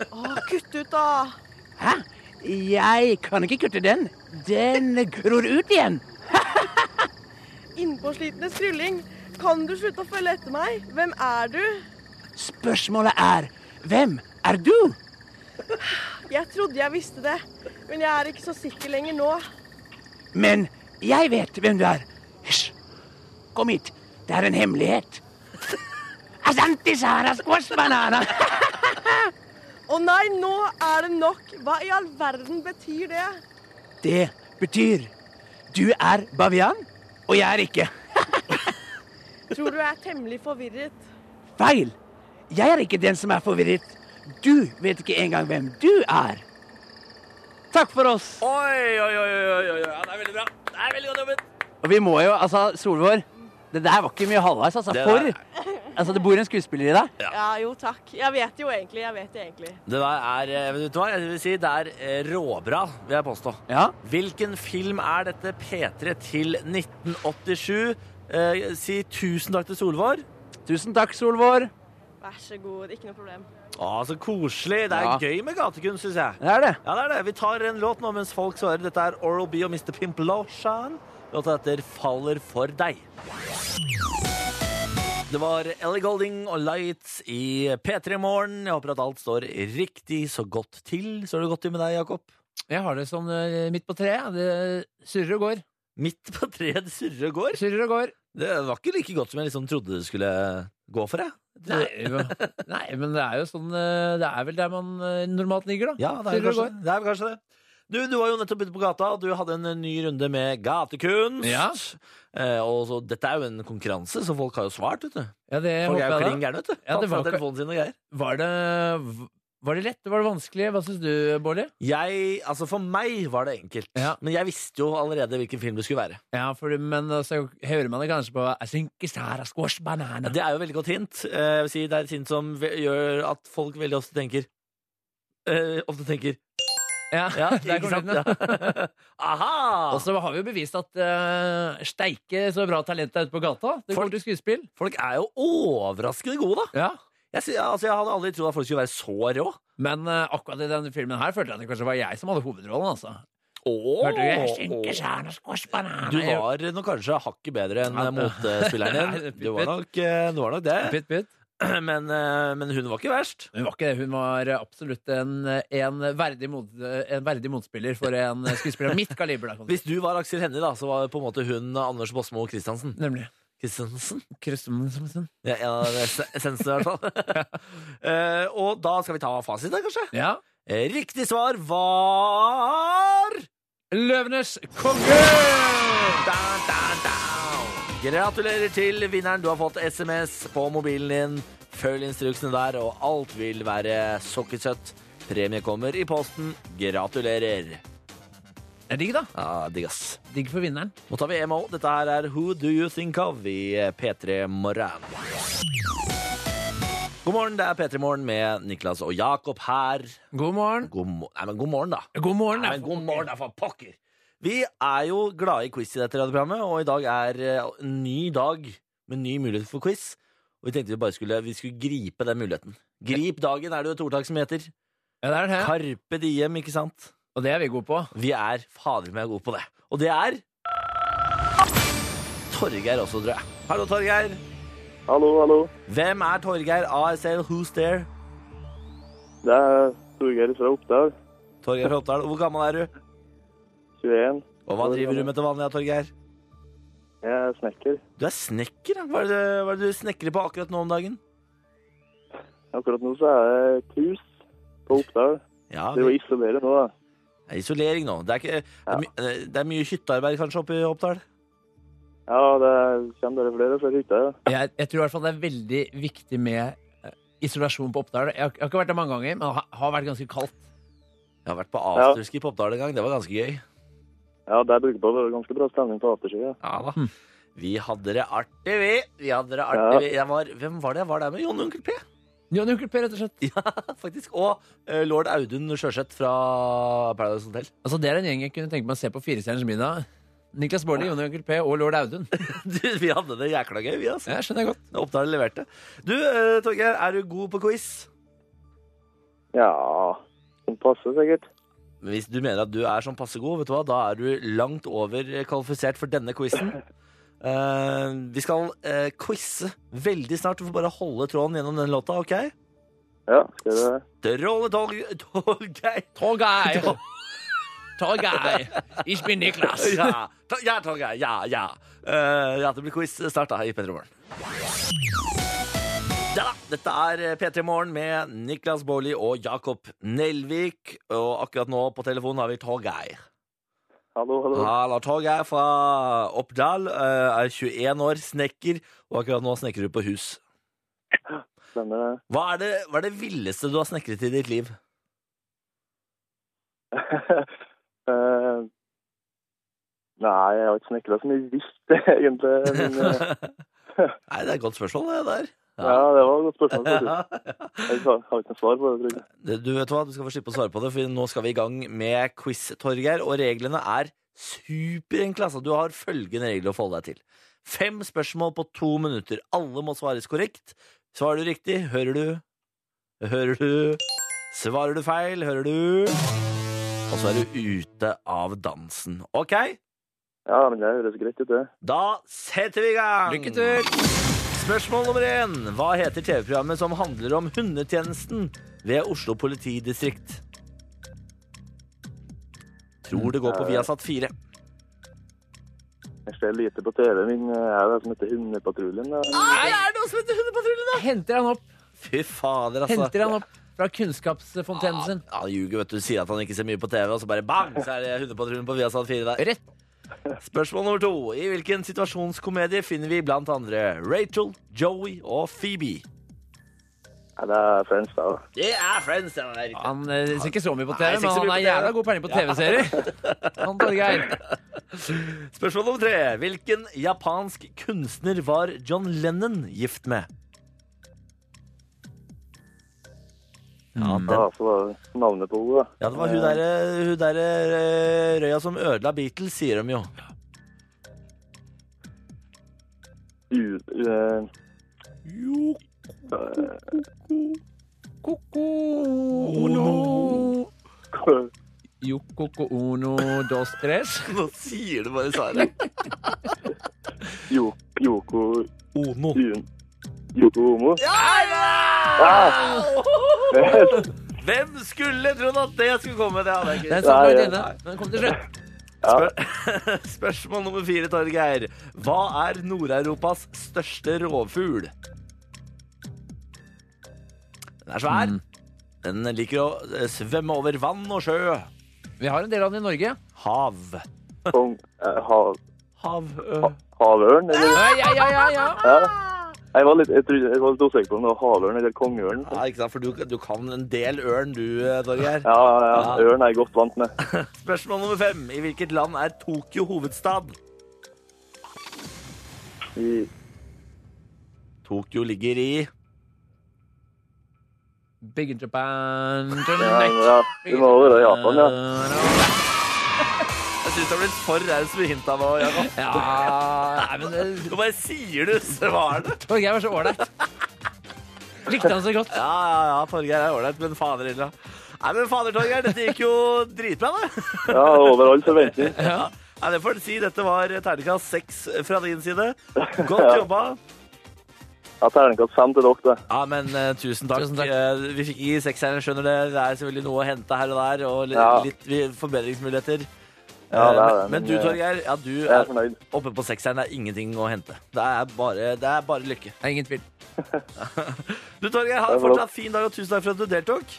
Speaker 6: Å, kutt ut, da.
Speaker 3: Hæ? Jeg kan ikke kutte den. Den gror ut igjen.
Speaker 6: Innpåslitne strulling. Kan du slutte å følge etter meg? Hvem er du?
Speaker 3: Spørsmålet er hvem er du?
Speaker 6: Jeg trodde jeg visste det, men jeg er ikke så sikker lenger nå.
Speaker 3: Men jeg vet hvem du er. Hysj. Kom hit. Det er en hemmelighet.
Speaker 6: Å nei, nå er det nok! Hva i all verden betyr det?
Speaker 7: Det betyr du er bavian, og jeg er ikke.
Speaker 6: Tror du jeg er temmelig forvirret?
Speaker 7: Feil! Jeg er ikke den som er forvirret. Du vet ikke engang hvem du er. Takk for oss.
Speaker 2: Oi, oi, oi, oi, oi, oi. Ja, det er veldig bra. Det er veldig godt jobbet.
Speaker 7: Og vi må jo, altså, Solvår, det der var ikke mye halvveis, altså.
Speaker 2: Det
Speaker 7: For
Speaker 2: der-
Speaker 7: Altså, det bor en skuespiller i deg.
Speaker 6: Ja, jo takk. Jeg vet jo egentlig. Jeg vet det egentlig.
Speaker 2: Det der er, eh, vet du hva, jeg vil si det er eh, råbra, vil jeg påstå.
Speaker 7: Ja.
Speaker 2: Hvilken film er dette P3 til 1987? Eh, si tusen takk til Solvår.
Speaker 7: Tusen takk, Solvår.
Speaker 6: Vær så god. Ikke noe problem.
Speaker 2: Å, så koselig. Det er
Speaker 7: Ja.
Speaker 2: gøy med gatekunst, syns jeg.
Speaker 7: Det er det.
Speaker 2: Ja, det er det. Vi tar en låt nå mens folk svarer. Dette er Oral B og Mr. Pimplotion. Låta heter Faller for deg. Det var Ellie Golding og Lights i P3 Morgen. Jeg håper at alt står riktig så godt til. Står det godt til med deg, Jakob?
Speaker 3: Jeg har det sånn eh, midt på treet. Det surrer og går.
Speaker 2: Midt på treet det surrer og går.
Speaker 3: Surrer og går.
Speaker 2: Det var ikke like godt som jeg liksom trodde det skulle gå for, jeg.
Speaker 3: Nei, nei, men det er jo sånn eh, Det er vel der man eh, normalt ligger, da.
Speaker 2: Ja, det er,
Speaker 3: Surrer og
Speaker 2: kanskje, det er kanskje det. Du, du var jo nettopp ute på gata, og du hadde en eh, ny runde med gatekunst.
Speaker 3: Ja.
Speaker 2: Eh, og så, dette er jo en konkurranse, så folk har jo svart, vet du.
Speaker 3: Ja, det
Speaker 2: Folk er jo
Speaker 3: håper jeg.
Speaker 2: klin
Speaker 3: da.
Speaker 2: gærne, vet du.
Speaker 3: Ja, det
Speaker 2: Tatt fra
Speaker 3: var ikke-
Speaker 2: telefonen sin og greier.
Speaker 3: Var det, var det lett? Var det vanskelig? Hva syns du, Bårli?
Speaker 2: Jeg, altså For meg var det enkelt,
Speaker 3: Ja.
Speaker 2: men jeg visste jo allerede hvilken film det altså, skulle være.
Speaker 3: Ja, for, men så hører man det kanskje på I think it's not a squash banana.
Speaker 2: Det er jo et veldig godt hint. Eh, jeg vil si Det er et hint som ve- gjør at folk veldig ofte tenker eh, Ofte tenker
Speaker 3: ja,
Speaker 2: Ja,
Speaker 3: der
Speaker 2: ikke
Speaker 3: kom
Speaker 2: sant?
Speaker 3: lyden, ja.
Speaker 2: Ja. Aha!
Speaker 3: Og så har vi jo bevist at eh, steike så bra talent er ute på gata. Det
Speaker 2: Folk-
Speaker 3: går til skuespill.
Speaker 2: Folk er jo overraskende gode, da.
Speaker 3: Ja.
Speaker 2: Jeg, sy- altså, jeg hadde aldri trodd at folk skulle være så rå.
Speaker 3: Men eh, akkurat i denne filmen her følte jeg at det kanskje var jeg som hadde hovedrollen. altså.
Speaker 2: Åh,
Speaker 3: Hørte du? Jeg
Speaker 2: åh.
Speaker 3: synes ikke så er noe squash banana.
Speaker 2: Du var nok kanskje hakket bedre enn
Speaker 3: Ja, det-
Speaker 2: motspilleren din. Du var nok, eh, du var nok det.
Speaker 3: Pitt, pitt.
Speaker 2: Men, eh, men hun var ikke verst.
Speaker 3: Hun var ikke det. Hun var absolutt en, en, verdig, mot, en verdig motspiller for en skuespiller av mitt kaliber. Da, kan du si.
Speaker 2: Hvis du var Aksel Hennie, da, så var på en måte hun Anders Bosmo Christiansen.
Speaker 3: Nemlig.
Speaker 2: Christiansen?
Speaker 3: Christensen.
Speaker 2: Ja, ja, det er es- essensen, i hvert fall. Eh, og da skal vi ta fasit, da, kanskje?
Speaker 3: Ja.
Speaker 2: Eh, Riktig svar var
Speaker 3: Løvenes konge!
Speaker 2: Down, down, down. Gratulerer til vinneren. Du har fått SMS på mobilen din. Følg instruksene der, og alt vil være sukkersøtt. Premie kommer i posten. Gratulerer.
Speaker 3: Det er digg, da.
Speaker 2: Ja, Digg, ass.
Speaker 3: Digg for vinneren.
Speaker 2: Nå tar vi EMO. Dette her er Who Do You Think Of i P3 Morgen. God morgen, det er P3 Morgen med Niklas og Jakob her.
Speaker 3: God morgen.
Speaker 2: God, mo Nei, men god morgen, da.
Speaker 3: God morgen.
Speaker 2: Nei, men god morgen, da, for pokker! Vi er jo glade i quiz i dette radioprogrammet, og i dag er eh, en ny dag med ny mulighet for quiz. Og vi tenkte vi bare skulle, vi skulle gripe den muligheten. Grip dagen, er det jo et ordtak som heter.
Speaker 3: Ja, det er det.
Speaker 2: Carpe diem, ikke sant?
Speaker 3: Og det er vi gode på.
Speaker 2: Vi er fader meg gode på det. Og det er Torgeir også, tror jeg. Hallo, Torgeir.
Speaker 8: Hallo, hallo.
Speaker 2: Hvem er Torgeir ASL? Who's there?
Speaker 8: Det er Torgeir fra Oppdal.
Speaker 2: Torgeir fra Oppdal. Hvor gammel er du?
Speaker 8: 21.
Speaker 2: Og hva driver du med til vanlig, ja, Torgeir?
Speaker 8: Jeg er snekker.
Speaker 2: Du er snekker, ja. Hva er det, hva er det du snekrer på akkurat nå om dagen?
Speaker 8: Akkurat nå så er jeg krus på Oppdal.
Speaker 2: Ja,
Speaker 8: Driver og isolerer nå, da.
Speaker 2: det er isolering nå. Det er, ikke, det er, my, eh, det er mye hyttearbeid kanskje oppe i Oppdal?
Speaker 8: Ja, det kommer dere flere fra hytta, ja.
Speaker 3: Jeg, jeg tror i hvert fall det er veldig viktig med eh, isolasjon på Oppdal. Jeg, har- jeg har ikke vært der mange ganger, men det har, har vært ganske kaldt.
Speaker 2: Jeg har vært på afterski på Oppdal en gang. Det var ganske gøy.
Speaker 8: Ja, der bruker på det var ganske bra stemning på afterski, ja.
Speaker 2: Ja
Speaker 3: Hm.
Speaker 2: da. Vi hadde det artig, vi. Vi hadde det artig,
Speaker 8: Ja.
Speaker 2: vi. Jeg var, hvem var det jeg var der med? Jon Onkel P?
Speaker 3: Jon Onkel P, rett og slett.
Speaker 2: Ja, faktisk. Og eh, lord Audun Sjøseth fra Paradise Hotel.
Speaker 3: Altså, det er en gjeng jeg kunne tenke meg å se på Firestjerners middag. Niklas Baarli, Jon Onkel P og lord Audun.
Speaker 2: Du, vi hadde det jækla gøy, vi, altså.
Speaker 3: Ja, skjønner jeg godt.
Speaker 2: Oppdal leverte. Du, eh, Torgeir, er du god på quiz?
Speaker 8: Ja, den passer sikkert.
Speaker 2: Men Hvis du mener at du er sånn passe god, vet du hva, da er du langt over kvalifisert for denne quizen. Eh, vi skal uh, quize veldig snart. Du får bare holde tråden gjennom den låta, OK?
Speaker 8: Ja, skal du
Speaker 2: Stråle, Torg- Torgeir.
Speaker 3: Torgeir! Torgeir! Ich bin Niklas.
Speaker 2: Ja, ta- ja, Torgeir. Ja, ja. Eh, ja, det blir quiz snart, da, i Petromorgen. Ja da, dette er eh, P3 Morgen med Niklas Baarli og Jakob Nelvik. Og akkurat nå på telefonen har vi Torgeir.
Speaker 8: Hallo, hallo.
Speaker 2: Halla, Torgeir fra Oppdal. eh, Er 21 år, snekker, og akkurat nå snekrer du på hus.
Speaker 8: Stemmer det.
Speaker 2: Hva er det, hva er det villeste du har snekret i ditt liv?
Speaker 8: Eh, nei, jeg har ikke snekra så mye vilt, egentlig. Men, eh,
Speaker 2: Nei, det er et godt spørsmål, det der.
Speaker 8: ja, det var et godt spørsmål. faktisk.
Speaker 2: Ja.
Speaker 8: Jeg har har ikke noe svar på det. tror jeg.
Speaker 2: Det- Du vet hva, du skal få slippe å svare på det, for nå skal vi i gang med quiz, Torgeir. Og reglene er superenkle. Altså, du har følgende regler å forholde deg til. Fem spørsmål på to minutter. Alle må svares korrekt. Svarer du riktig, hører du. Hører du. Svarer du feil, hører du. Og så er du ute av dansen. OK?
Speaker 8: Ja, men det høres greit ut, det.
Speaker 2: Da setter vi i gang! Lykke til! Spørsmål nummer én. Hva heter TV-programmet som handler om hundetjenesten ved Oslo politidistrikt? Tror det går på Viasat 4.
Speaker 8: Jeg ser lite på TV, men jeg eh, er det som heter Hundepatruljen. da.
Speaker 3: Ah! Henter han opp,
Speaker 2: Fy fader, altså. Ah.
Speaker 3: henter han opp fra kunnskapsfontenen sin.
Speaker 2: Ja, han ljuger, vet du. Sier at han ikke ser mye på TV, og så bare bang, så er det hundepatruljen på Viasat 4 der.
Speaker 3: Rett.
Speaker 2: Spørsmål nummer to. I hvilken situasjonskomedie finner vi blant andre Rachel, Joey og Phoebe?
Speaker 8: Nei, det er French, da.
Speaker 2: Det er Friends, det er riktig.
Speaker 3: Han eh, ser ikke så mye
Speaker 2: Nei,
Speaker 3: på TV,
Speaker 2: ser ikke
Speaker 3: men
Speaker 2: så
Speaker 3: han
Speaker 2: mye på
Speaker 3: er
Speaker 2: TV.
Speaker 3: jævla god peiling på TV-serier. Han Torgeir.
Speaker 2: Spørsmål nummer tre. Hvilken japansk kunstner var John Lennon gift med? Ja, den,
Speaker 8: Ja, så var det navnet på henne, da.
Speaker 2: ja det var hun der, eh, hun der eh, røya som ødela Beatles, sier de jo.
Speaker 8: U eh, k-
Speaker 3: Yokoko uno dos tres.
Speaker 2: Nå sier du bare Sara.
Speaker 8: eh, Jo- Yoko
Speaker 2: Ono.
Speaker 8: Un- Yoko Homo.
Speaker 2: Ah!
Speaker 8: Ja,
Speaker 2: Hvem skulle trodd at det skulle komme? Det hadde jeg
Speaker 3: Det
Speaker 2: ikke.
Speaker 3: er en sånn
Speaker 8: Nei,
Speaker 3: vært
Speaker 8: ja.
Speaker 3: inne, men kom til slutt.
Speaker 2: Spørsmål nummer fire, Torgeir. Hva er Nord-Europas største rovfugl? Den er svær. Den liker å eh, svømme over vann og sjø.
Speaker 3: Vi har en del av den i Norge.
Speaker 2: Hav.
Speaker 8: Kong- eh, hav-
Speaker 2: Hav...
Speaker 8: Havørn, eller?
Speaker 3: Ja, ja, ja, ja, ja.
Speaker 8: Ja. Jeg var litt, jeg trodde, jeg var litt usikker på om det var havørn eller kongeørn.
Speaker 2: Ja, ikke sant, for du, du kan en del ørn, du, eh, Torgeir.
Speaker 8: Ja, ja,
Speaker 2: Ah.
Speaker 8: ja. Ørn er jeg godt vant med.
Speaker 2: Spørsmål nummer fem. I hvilket land er Tokyo hovedstad?
Speaker 8: I
Speaker 2: Tokyo ligger i
Speaker 3: Big in Japan.
Speaker 8: Ja, ja. Vi må over i Japan, ja.
Speaker 2: Jeg syns det har blitt for raus med hinta nå. Jakob.
Speaker 3: Ja, nei, men eh,
Speaker 2: Nå bare sier du svarene.
Speaker 3: Torgeir var så ålreit. Likte han så godt.
Speaker 2: Ja, ja, ja, Torgeir er ålreit, men fader heller. Nei, men fader, Torgeir, dette gikk jo dritbra, det.
Speaker 8: ja, over all forventning.
Speaker 2: Nei, det får du si. Dette var terningkast seks fra din side. Godt jobba.
Speaker 8: Ja, terningkast fem til dere, da.
Speaker 2: Ja, men eh, tusen takk.
Speaker 3: Tusen takk.
Speaker 2: Eh, vi fikk ikke sekseren, jeg skjønner det. Det er selvfølgelig noe å hente her og der, og li
Speaker 8: Ja.
Speaker 2: litt vi- forbedringsmuligheter.
Speaker 8: Ja, det er
Speaker 2: Eh, men, men
Speaker 8: det, men,
Speaker 2: du,
Speaker 8: eh,
Speaker 2: Torgeir, ja, du
Speaker 8: Jeg er
Speaker 2: er
Speaker 8: fornøyd.
Speaker 2: oppe på sekseren. Det er ingenting å hente. Det er bare, det er bare lykke.
Speaker 3: Det er ingen tvil.
Speaker 2: Du, Torgeir, ha en
Speaker 8: Takk for
Speaker 2: fortsatt fin dag, og tusen takk for at du deltok.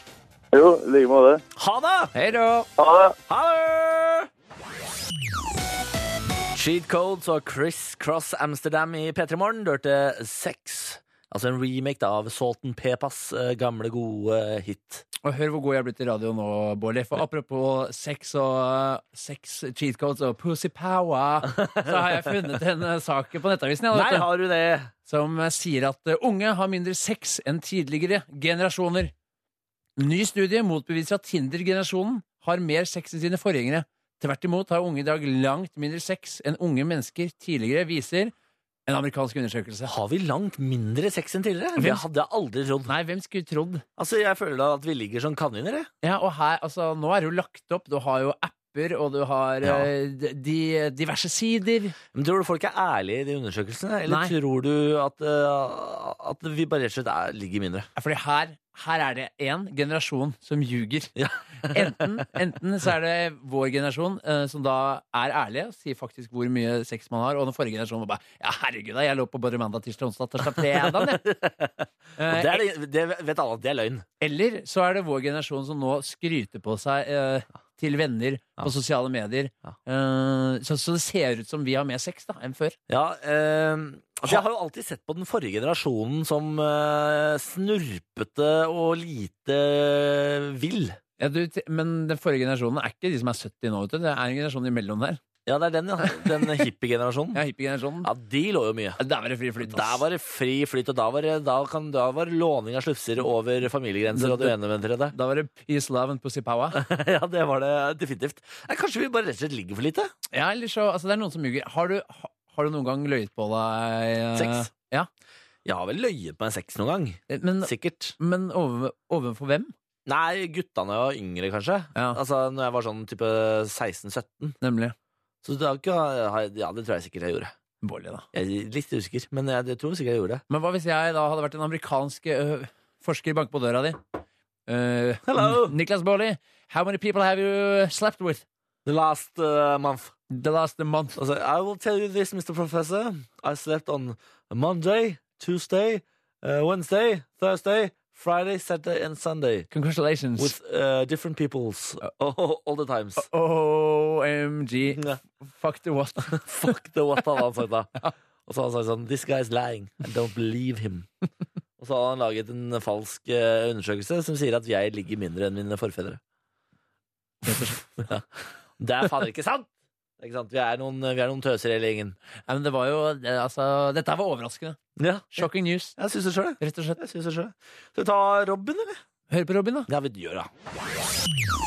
Speaker 8: Jo, i like måte.
Speaker 2: Ha det!
Speaker 3: Hei da.
Speaker 8: Ha det.
Speaker 2: Ha det! Cheat Codes og Chris Cross Amsterdam i P3 Morgen. Du hørte Sex. Altså en remake da, av Salten Pepas eh, gamle, gode hit.
Speaker 3: Og hør hvor god jeg er blitt i radio nå, Bård. For apropos sex og eh, sex cheat codes og pussy power, så har jeg funnet en eh, sak på Nettavisen jeg,
Speaker 2: Nei,
Speaker 3: vet du,
Speaker 2: har du det?
Speaker 3: som eh, sier at eh, unge har mindre sex enn tidligere generasjoner. Ny studie motbeviser at Tinder-generasjonen har mer sex enn sine forgjengere. Tvert imot har unge i dag langt mindre sex enn unge mennesker tidligere, viser en amerikansk undersøkelse.
Speaker 2: Har vi langt mindre sex enn tidligere? Det
Speaker 3: Hvem-
Speaker 2: hadde jeg aldri trodd.
Speaker 3: Nei, hvem skulle trodd?
Speaker 2: Altså, Jeg føler da at vi ligger som kaniner. jeg.
Speaker 3: Ja, og her, altså, nå er det jo lagt opp. Du har jo apper, og du har
Speaker 2: Ja.
Speaker 3: eh, d- de, diverse sider.
Speaker 2: Men Tror du folk er ærlige i de undersøkelsene, eller
Speaker 3: Nei.
Speaker 2: tror du at, eh, at vi bare rett og slett er, ligger mindre?
Speaker 3: Fordi her her er det én generasjon som ljuger.
Speaker 2: Ja.
Speaker 3: enten, enten så er det vår generasjon eh, som da er ærlige og sier faktisk hvor mye sex man har, og den forrige generasjonen var bare Ja, herregud, da, jeg lå på både mandag, tirsdag, onsdag, torsdag, fredag. jeg». Eh,
Speaker 2: Det, er, det- det vet alle at det er løgn.
Speaker 3: Eller så er det vår generasjon som nå skryter på seg eh, til venner på sosiale medier. Eh, så, så det ser ut som vi har mer sex da, enn før.
Speaker 2: Ja, eh, altså Jeg har jo alltid sett på den forrige generasjonen som eh, snurpete og lite vill.
Speaker 3: Ja, du, t- men den forrige generasjonen er ikke de som er 70 nå, vet du. Det er en generasjon imellom der.
Speaker 2: Ja, det er den, ja. Den hippie-generasjonen.
Speaker 3: Ja, hippie-generasjonen.
Speaker 2: Ja, de lå jo mye.
Speaker 3: Der var det fri flyt,
Speaker 2: Der var det fri flyt, og da var det, da kan, da var det låning av slufser over familiegrenser og det ene med det tredje.
Speaker 3: Da var det peace, love and pussy power.
Speaker 2: Ja, det var det definitivt. Nei, kanskje vi bare rett og slett ligger for lite?
Speaker 3: Ja, eller så, altså det er noen som ljuger. Har du, ha- har du noen gang løyet på deg? eh,
Speaker 2: Sex?
Speaker 3: Ja.
Speaker 2: Jeg har vel løyet meg sex noen gang.
Speaker 3: Eh, Men,
Speaker 2: Sikkert.
Speaker 3: men over, overfor hvem?
Speaker 2: Nei, gutta når jeg var yngre, kanskje.
Speaker 3: Ja.
Speaker 2: Altså når jeg var sånn type 16-17.
Speaker 3: Nemlig
Speaker 2: Så det har ikke eh, har- Ja, det tror jeg sikkert jeg gjorde.
Speaker 3: Bolli, da.
Speaker 2: Jeg er litt usikker, men jeg, jeg tror sikkert jeg gjorde det.
Speaker 3: Men hva hvis jeg da hadde vært en amerikansk øh, forsker banke på døra di? Eh,
Speaker 2: Hello.
Speaker 3: N- Niklas Baarli, how many people have you slept with
Speaker 2: The last uh, month.
Speaker 3: the last month?
Speaker 2: Altså, I will tell you this, Mr. Professor. I slept on Monday, Tuesday, uh, Wednesday, Thursday, Friday, Saturday and Sunday.
Speaker 3: Congratulations.
Speaker 2: With uh, different peoples all, all the times.
Speaker 3: OMG.
Speaker 2: Ja.
Speaker 3: Fuck the what?
Speaker 2: Fuck the what hadde han sagt da. Og så hadde han sagt sånn This guy is lying. I don't believe him. Og så hadde han laget en falsk eh, undersøkelse som sier at jeg ligger mindre enn mine forfedre. ja. Det er fader ikke sant! Det er Ikke sant? Vi, er noen, vi er noen tøser i hele gjengen.
Speaker 3: Nei, men det var jo eh, Altså, dette her var overraskende.
Speaker 2: Ja,
Speaker 3: Shocking news,
Speaker 2: jeg syns det sjøl, jeg.
Speaker 3: rett og slett.
Speaker 2: Jeg synes det selv. Skal vi ta Robin, eller?
Speaker 3: Hør på Robin, da.
Speaker 2: Ja, vi gjør det.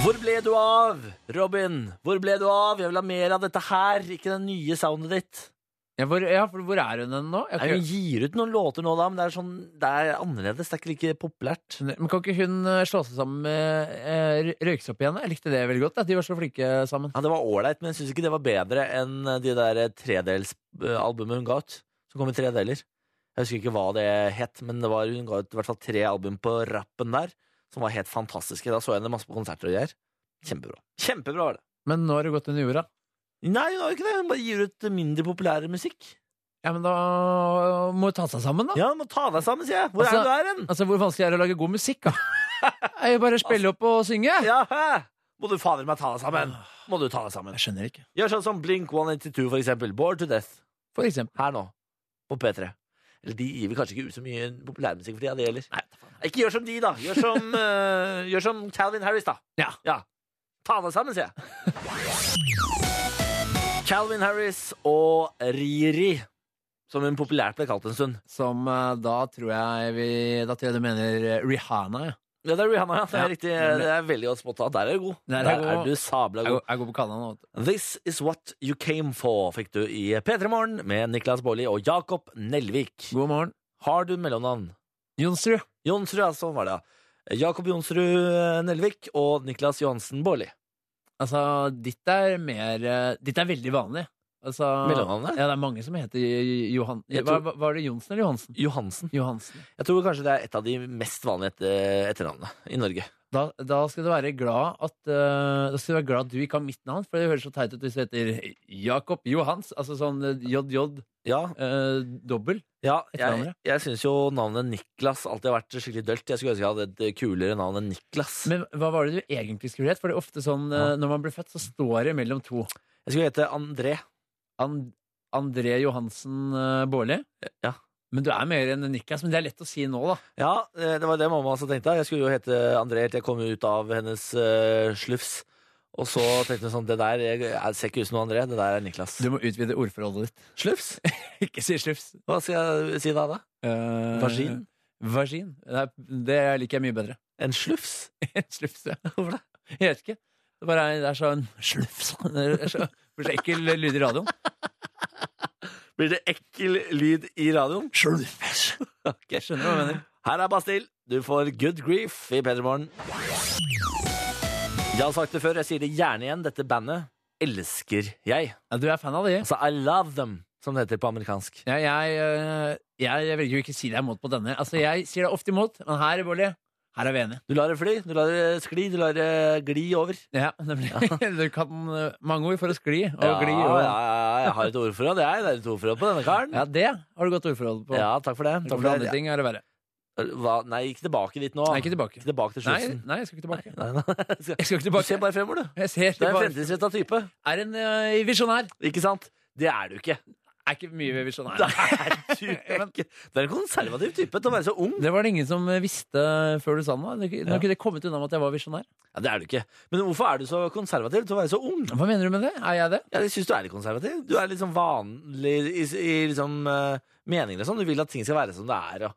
Speaker 2: Hvor ble du av, Robin? Hvor ble du av? Jeg vil ha mer av dette her, ikke det nye soundet ditt.
Speaker 3: Ja, hvor, ja, for hvor er hun hen nå? Jeg har
Speaker 2: Nei,
Speaker 3: ikke-
Speaker 2: hun gir ut noen låter nå, da, men det er, sånn, det er annerledes. Det er ikke like populært.
Speaker 3: Skjønner. Men kan ikke hun eh, slå seg sammen med eh, Rø- Røyksopp igjen? Jeg likte det veldig godt. At de var så flinke sammen.
Speaker 2: Ja, Det var ålreit, men jeg syns ikke det var bedre enn eh, de der tredelsalbumene hun ga ut. Som kom i tre deler. Jeg husker ikke hva det het, men det var, hun ga ut i hvert fall tre album på rappen der, som var helt fantastiske. Da så jeg henne masse på konserter og greier. Kjempebra. Kjempebra var det.
Speaker 3: Men nå har det gått under jorda.
Speaker 2: Nei, hun har jo ikke det. Hun bare gir ut mindre populær musikk.
Speaker 3: Ja, men da må hun ta seg sammen, da.
Speaker 2: Ja, må ta deg sammen, sier jeg. Hvor
Speaker 3: Altså-
Speaker 2: er du er hen?
Speaker 3: Altså, Hvor vanskelig er det å lage god musikk, da? Er jo bare å spille opp og synge.
Speaker 2: Ja, hæ? Må du fader meg ta deg sammen? Må du ta deg sammen?
Speaker 3: Jeg skjønner ikke.
Speaker 2: Gjør sånn som Blink 182, for eksempel. Bored to Death.
Speaker 3: For eksempel.
Speaker 2: her nå, på P3. Eller de gir vel kanskje ikke ut så mye populærmusikk for de, ja, det gjelder. Ikke gjør som de, da. Gjør som, eh, gjør som Calvin Harris, da.
Speaker 3: Ja.
Speaker 2: Ta deg sammen, sier jeg. Calvin Harris og Riri, som hun populært ble kalt en stund.
Speaker 3: Som eh, da tror jeg vi Da tror jeg du mener eh, Rihanna, ja.
Speaker 2: Ja, det er Rihanna, ja. Det
Speaker 3: Ja.
Speaker 2: er, riktig, det er veldig godt spotta. Der er du god.
Speaker 3: Der er jeg god.
Speaker 2: du sabla
Speaker 3: Jeg
Speaker 2: god.
Speaker 3: går, jeg går på kallenavn. vet du.
Speaker 2: This is what you came for, fikk du i P3 Morgen med Niklas Baarli og Jakob Nelvik.
Speaker 3: God morgen.
Speaker 2: Har du mellomnavn?
Speaker 3: Jonsrud.
Speaker 2: Jonsrud, ja, sånn var det. ja. Jakob Jonsrud eh, Nelvik og Niklas Johansen Baarli.
Speaker 3: Altså, ditt er mer eh, Ditt er veldig vanlig. Altså,
Speaker 2: Mellomnavnet?
Speaker 3: Ja, det er mange som heter Johan...
Speaker 2: Jeg
Speaker 3: Hva,
Speaker 2: tror-
Speaker 3: hva- var det Johnsen eller Johansen?
Speaker 2: Johansen.
Speaker 3: Johansen.
Speaker 2: Jeg tror kanskje det er et av de mest vanlige etter etternavnene i Norge.
Speaker 3: Da, da skal du være glad at eh, Da skal du være glad at du ikke har mitt navn, for det høres så teit ut hvis det heter Jakob Johans. Altså sånn eh, JJ
Speaker 2: Ja,
Speaker 3: eh, dobbel.
Speaker 2: ja jeg,
Speaker 3: Etternavnet?
Speaker 2: jeg syns jo navnet Niklas alltid har vært skikkelig dølt. Jeg skulle ønske jeg hadde et eh, kulere navn enn Niklas.
Speaker 3: Men hva var det du egentlig skulle hett? For det er ofte sånn eh, når man blir født, så står det mellom to.
Speaker 2: Jeg skulle hete André.
Speaker 3: And André Johansen eh, Baarli.
Speaker 2: Ja.
Speaker 3: Men du er mer enn Niklas. Men det er lett å si nå, da.
Speaker 2: Ja, eh, det var det mamma også tenkte. Jeg skulle jo hete André helt til jeg kom ut av hennes eh, slufs. Og så tenkte hun sånn Det der jeg, jeg ser ikke ut som noe André, det der er Niklas.
Speaker 3: Du må utvide ordforrådet ditt.
Speaker 2: Slufs?
Speaker 3: ikke si slufs.
Speaker 2: Hva skal jeg si da, da?
Speaker 3: Eh,
Speaker 2: Vagin?
Speaker 3: Vagin. Det, er, det liker jeg mye bedre.
Speaker 2: En slufs?
Speaker 3: Slufs, ja. Hvorfor det? Jeg vet ikke. Det, bare er, det er sånn slufs. Det er så, det er så ekkel lyd i radioen.
Speaker 2: Blir det ekkel lyd i radioen?
Speaker 3: Jeg skjønner hva jeg mener.
Speaker 2: Her er Bastille. Du får good grief i P3morgen. Jeg har sagt det før, jeg sier det gjerne igjen. Dette bandet elsker jeg.
Speaker 3: Ja, du er fan av de.
Speaker 2: Altså, I love them. som det heter på amerikansk.
Speaker 3: Ja, jeg, eh, jeg, jeg velger jo ikke å si deg imot på denne. Altså, Jeg sier deg ofte imot, men her, Bolli, her er vi enige.
Speaker 2: Du lar det fly, du lar det skli, du lar det gli over.
Speaker 3: Ja, nemlig. Du kan eh, mange ord for å skli og
Speaker 2: Ja,
Speaker 3: gli.
Speaker 2: ja,
Speaker 3: Og...
Speaker 2: ja, jeg har et ordforråd, jeg. Det er et ordforråd på denne karen.
Speaker 3: Ja, det har du godt ordforråd på.
Speaker 2: Ja, takk for det.
Speaker 3: Takk
Speaker 2: Takk
Speaker 3: for
Speaker 2: for
Speaker 3: andre
Speaker 2: det.
Speaker 3: ting er det verre.
Speaker 2: Hva? Nei, ikke tilbake dit nå.
Speaker 3: Nei, ikke tilbake.
Speaker 2: Ikke tilbake til
Speaker 3: Nei,
Speaker 2: slussen.
Speaker 3: nei, jeg skal ikke tilbake.
Speaker 2: Nei, nei.
Speaker 3: Jeg skal ikke
Speaker 2: Du
Speaker 3: tilbake.
Speaker 2: ser bare fremover, du.
Speaker 3: Jeg
Speaker 2: Det
Speaker 3: ser
Speaker 2: er en
Speaker 3: tilbake.
Speaker 2: fremtidsretta type.
Speaker 3: Er en eh, visjonær.
Speaker 2: Ikke sant? Det er du ikke.
Speaker 3: Er ikke mye ved visjonær.
Speaker 2: Det er du ikke. Du er en konservativ type til å være så ung.
Speaker 3: Det var det ingen som eh, visste før du sa noe. Det har ikke det kommet unna med at jeg var visjonær.
Speaker 2: Ja, det er du ikke. Men hvorfor er du så konservativ til å være så ung?
Speaker 3: Hva mener du med det? Er jeg det?
Speaker 2: Ja, Jeg syns du er litt konservativ. Du er litt sånn vanlig i, i liksom eh, meninger og sånn. Du vil at ting skal være som det er. Og.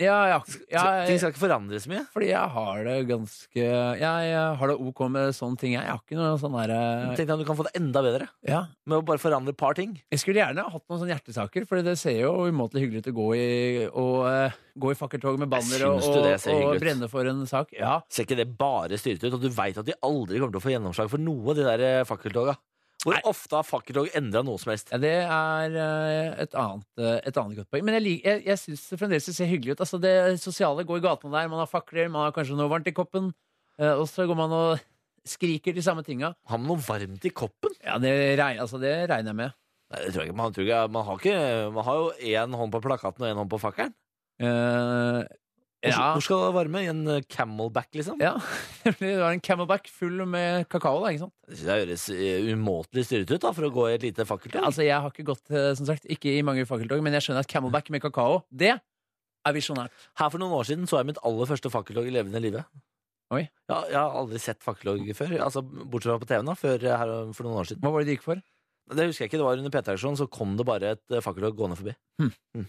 Speaker 3: Ja, jeg,
Speaker 2: Så ting
Speaker 3: jeg,
Speaker 2: skal ikke forandres mye.
Speaker 3: fordi jeg har det ganske Jeg har det ok med sånne ting. Jeg Jeg har ikke noe sånn derre
Speaker 2: Tenk deg om du kan få det enda bedre
Speaker 3: ja.
Speaker 2: med å bare forandre et par ting.
Speaker 3: Jeg skulle gjerne hatt noen sånne hjertesaker, for det ser jo umåtelig hyggelig ut å gå i, og, eh, gå i fakkeltog med banner og,
Speaker 2: syns du
Speaker 3: og,
Speaker 2: det ser hyggelig
Speaker 3: og
Speaker 2: ut?
Speaker 3: brenne for en sak. Ja,
Speaker 2: Ser ikke det bare styrt ut? Og du veit at de aldri kommer til å få gjennomslag for noe av de der eh, fakkeltoga. Hvor ofte har fakkeltog endra noe som helst?
Speaker 3: Ja, det er eh, et annet, eh, et annet godt poeng. Men jeg, lik- jeg, jeg syns fremdeles det ser hyggelig ut. Altså, det sosiale går i gatene der. Man har fakler, man har kanskje noe varmt i koppen. eh, Og så går man og skriker de samme tinga.
Speaker 2: Har man noe varmt i koppen?
Speaker 3: Ja, det regner, altså, det regner jeg med.
Speaker 2: Nei, det tror jeg ikke. Man, tror ikke, man, har, ikke, man har jo én hånd på plakaten og én hånd på fakkelen.
Speaker 3: Eh,
Speaker 2: Hvor,
Speaker 3: ja.
Speaker 2: hvor skal det varme? I en eh, camelback, liksom?
Speaker 3: ja. Det var en camelback full med kakao, da. ikke sant?
Speaker 2: Det synes jeg høres eh, umåtelig styrt ut da, for å gå i et lite fakkeltog.
Speaker 3: Altså, Jeg har ikke gått eh, som sagt, ikke i mange fakkeltog, men jeg skjønner at camelback med kakao, det er visjonært.
Speaker 2: Her for noen år siden så jeg mitt aller første fakkeltog i levende live.
Speaker 3: Oi.
Speaker 2: Ja, jeg har aldri sett fakkeltog før, altså, bortsett fra på TV-en da, før eh, her for noen år siden.
Speaker 3: Hva var det de gikk for?
Speaker 2: Det husker jeg ikke, det var under PT-aksjonen, så kom det bare et eh, fakkeltog gående forbi.
Speaker 3: Hm.
Speaker 2: Mm.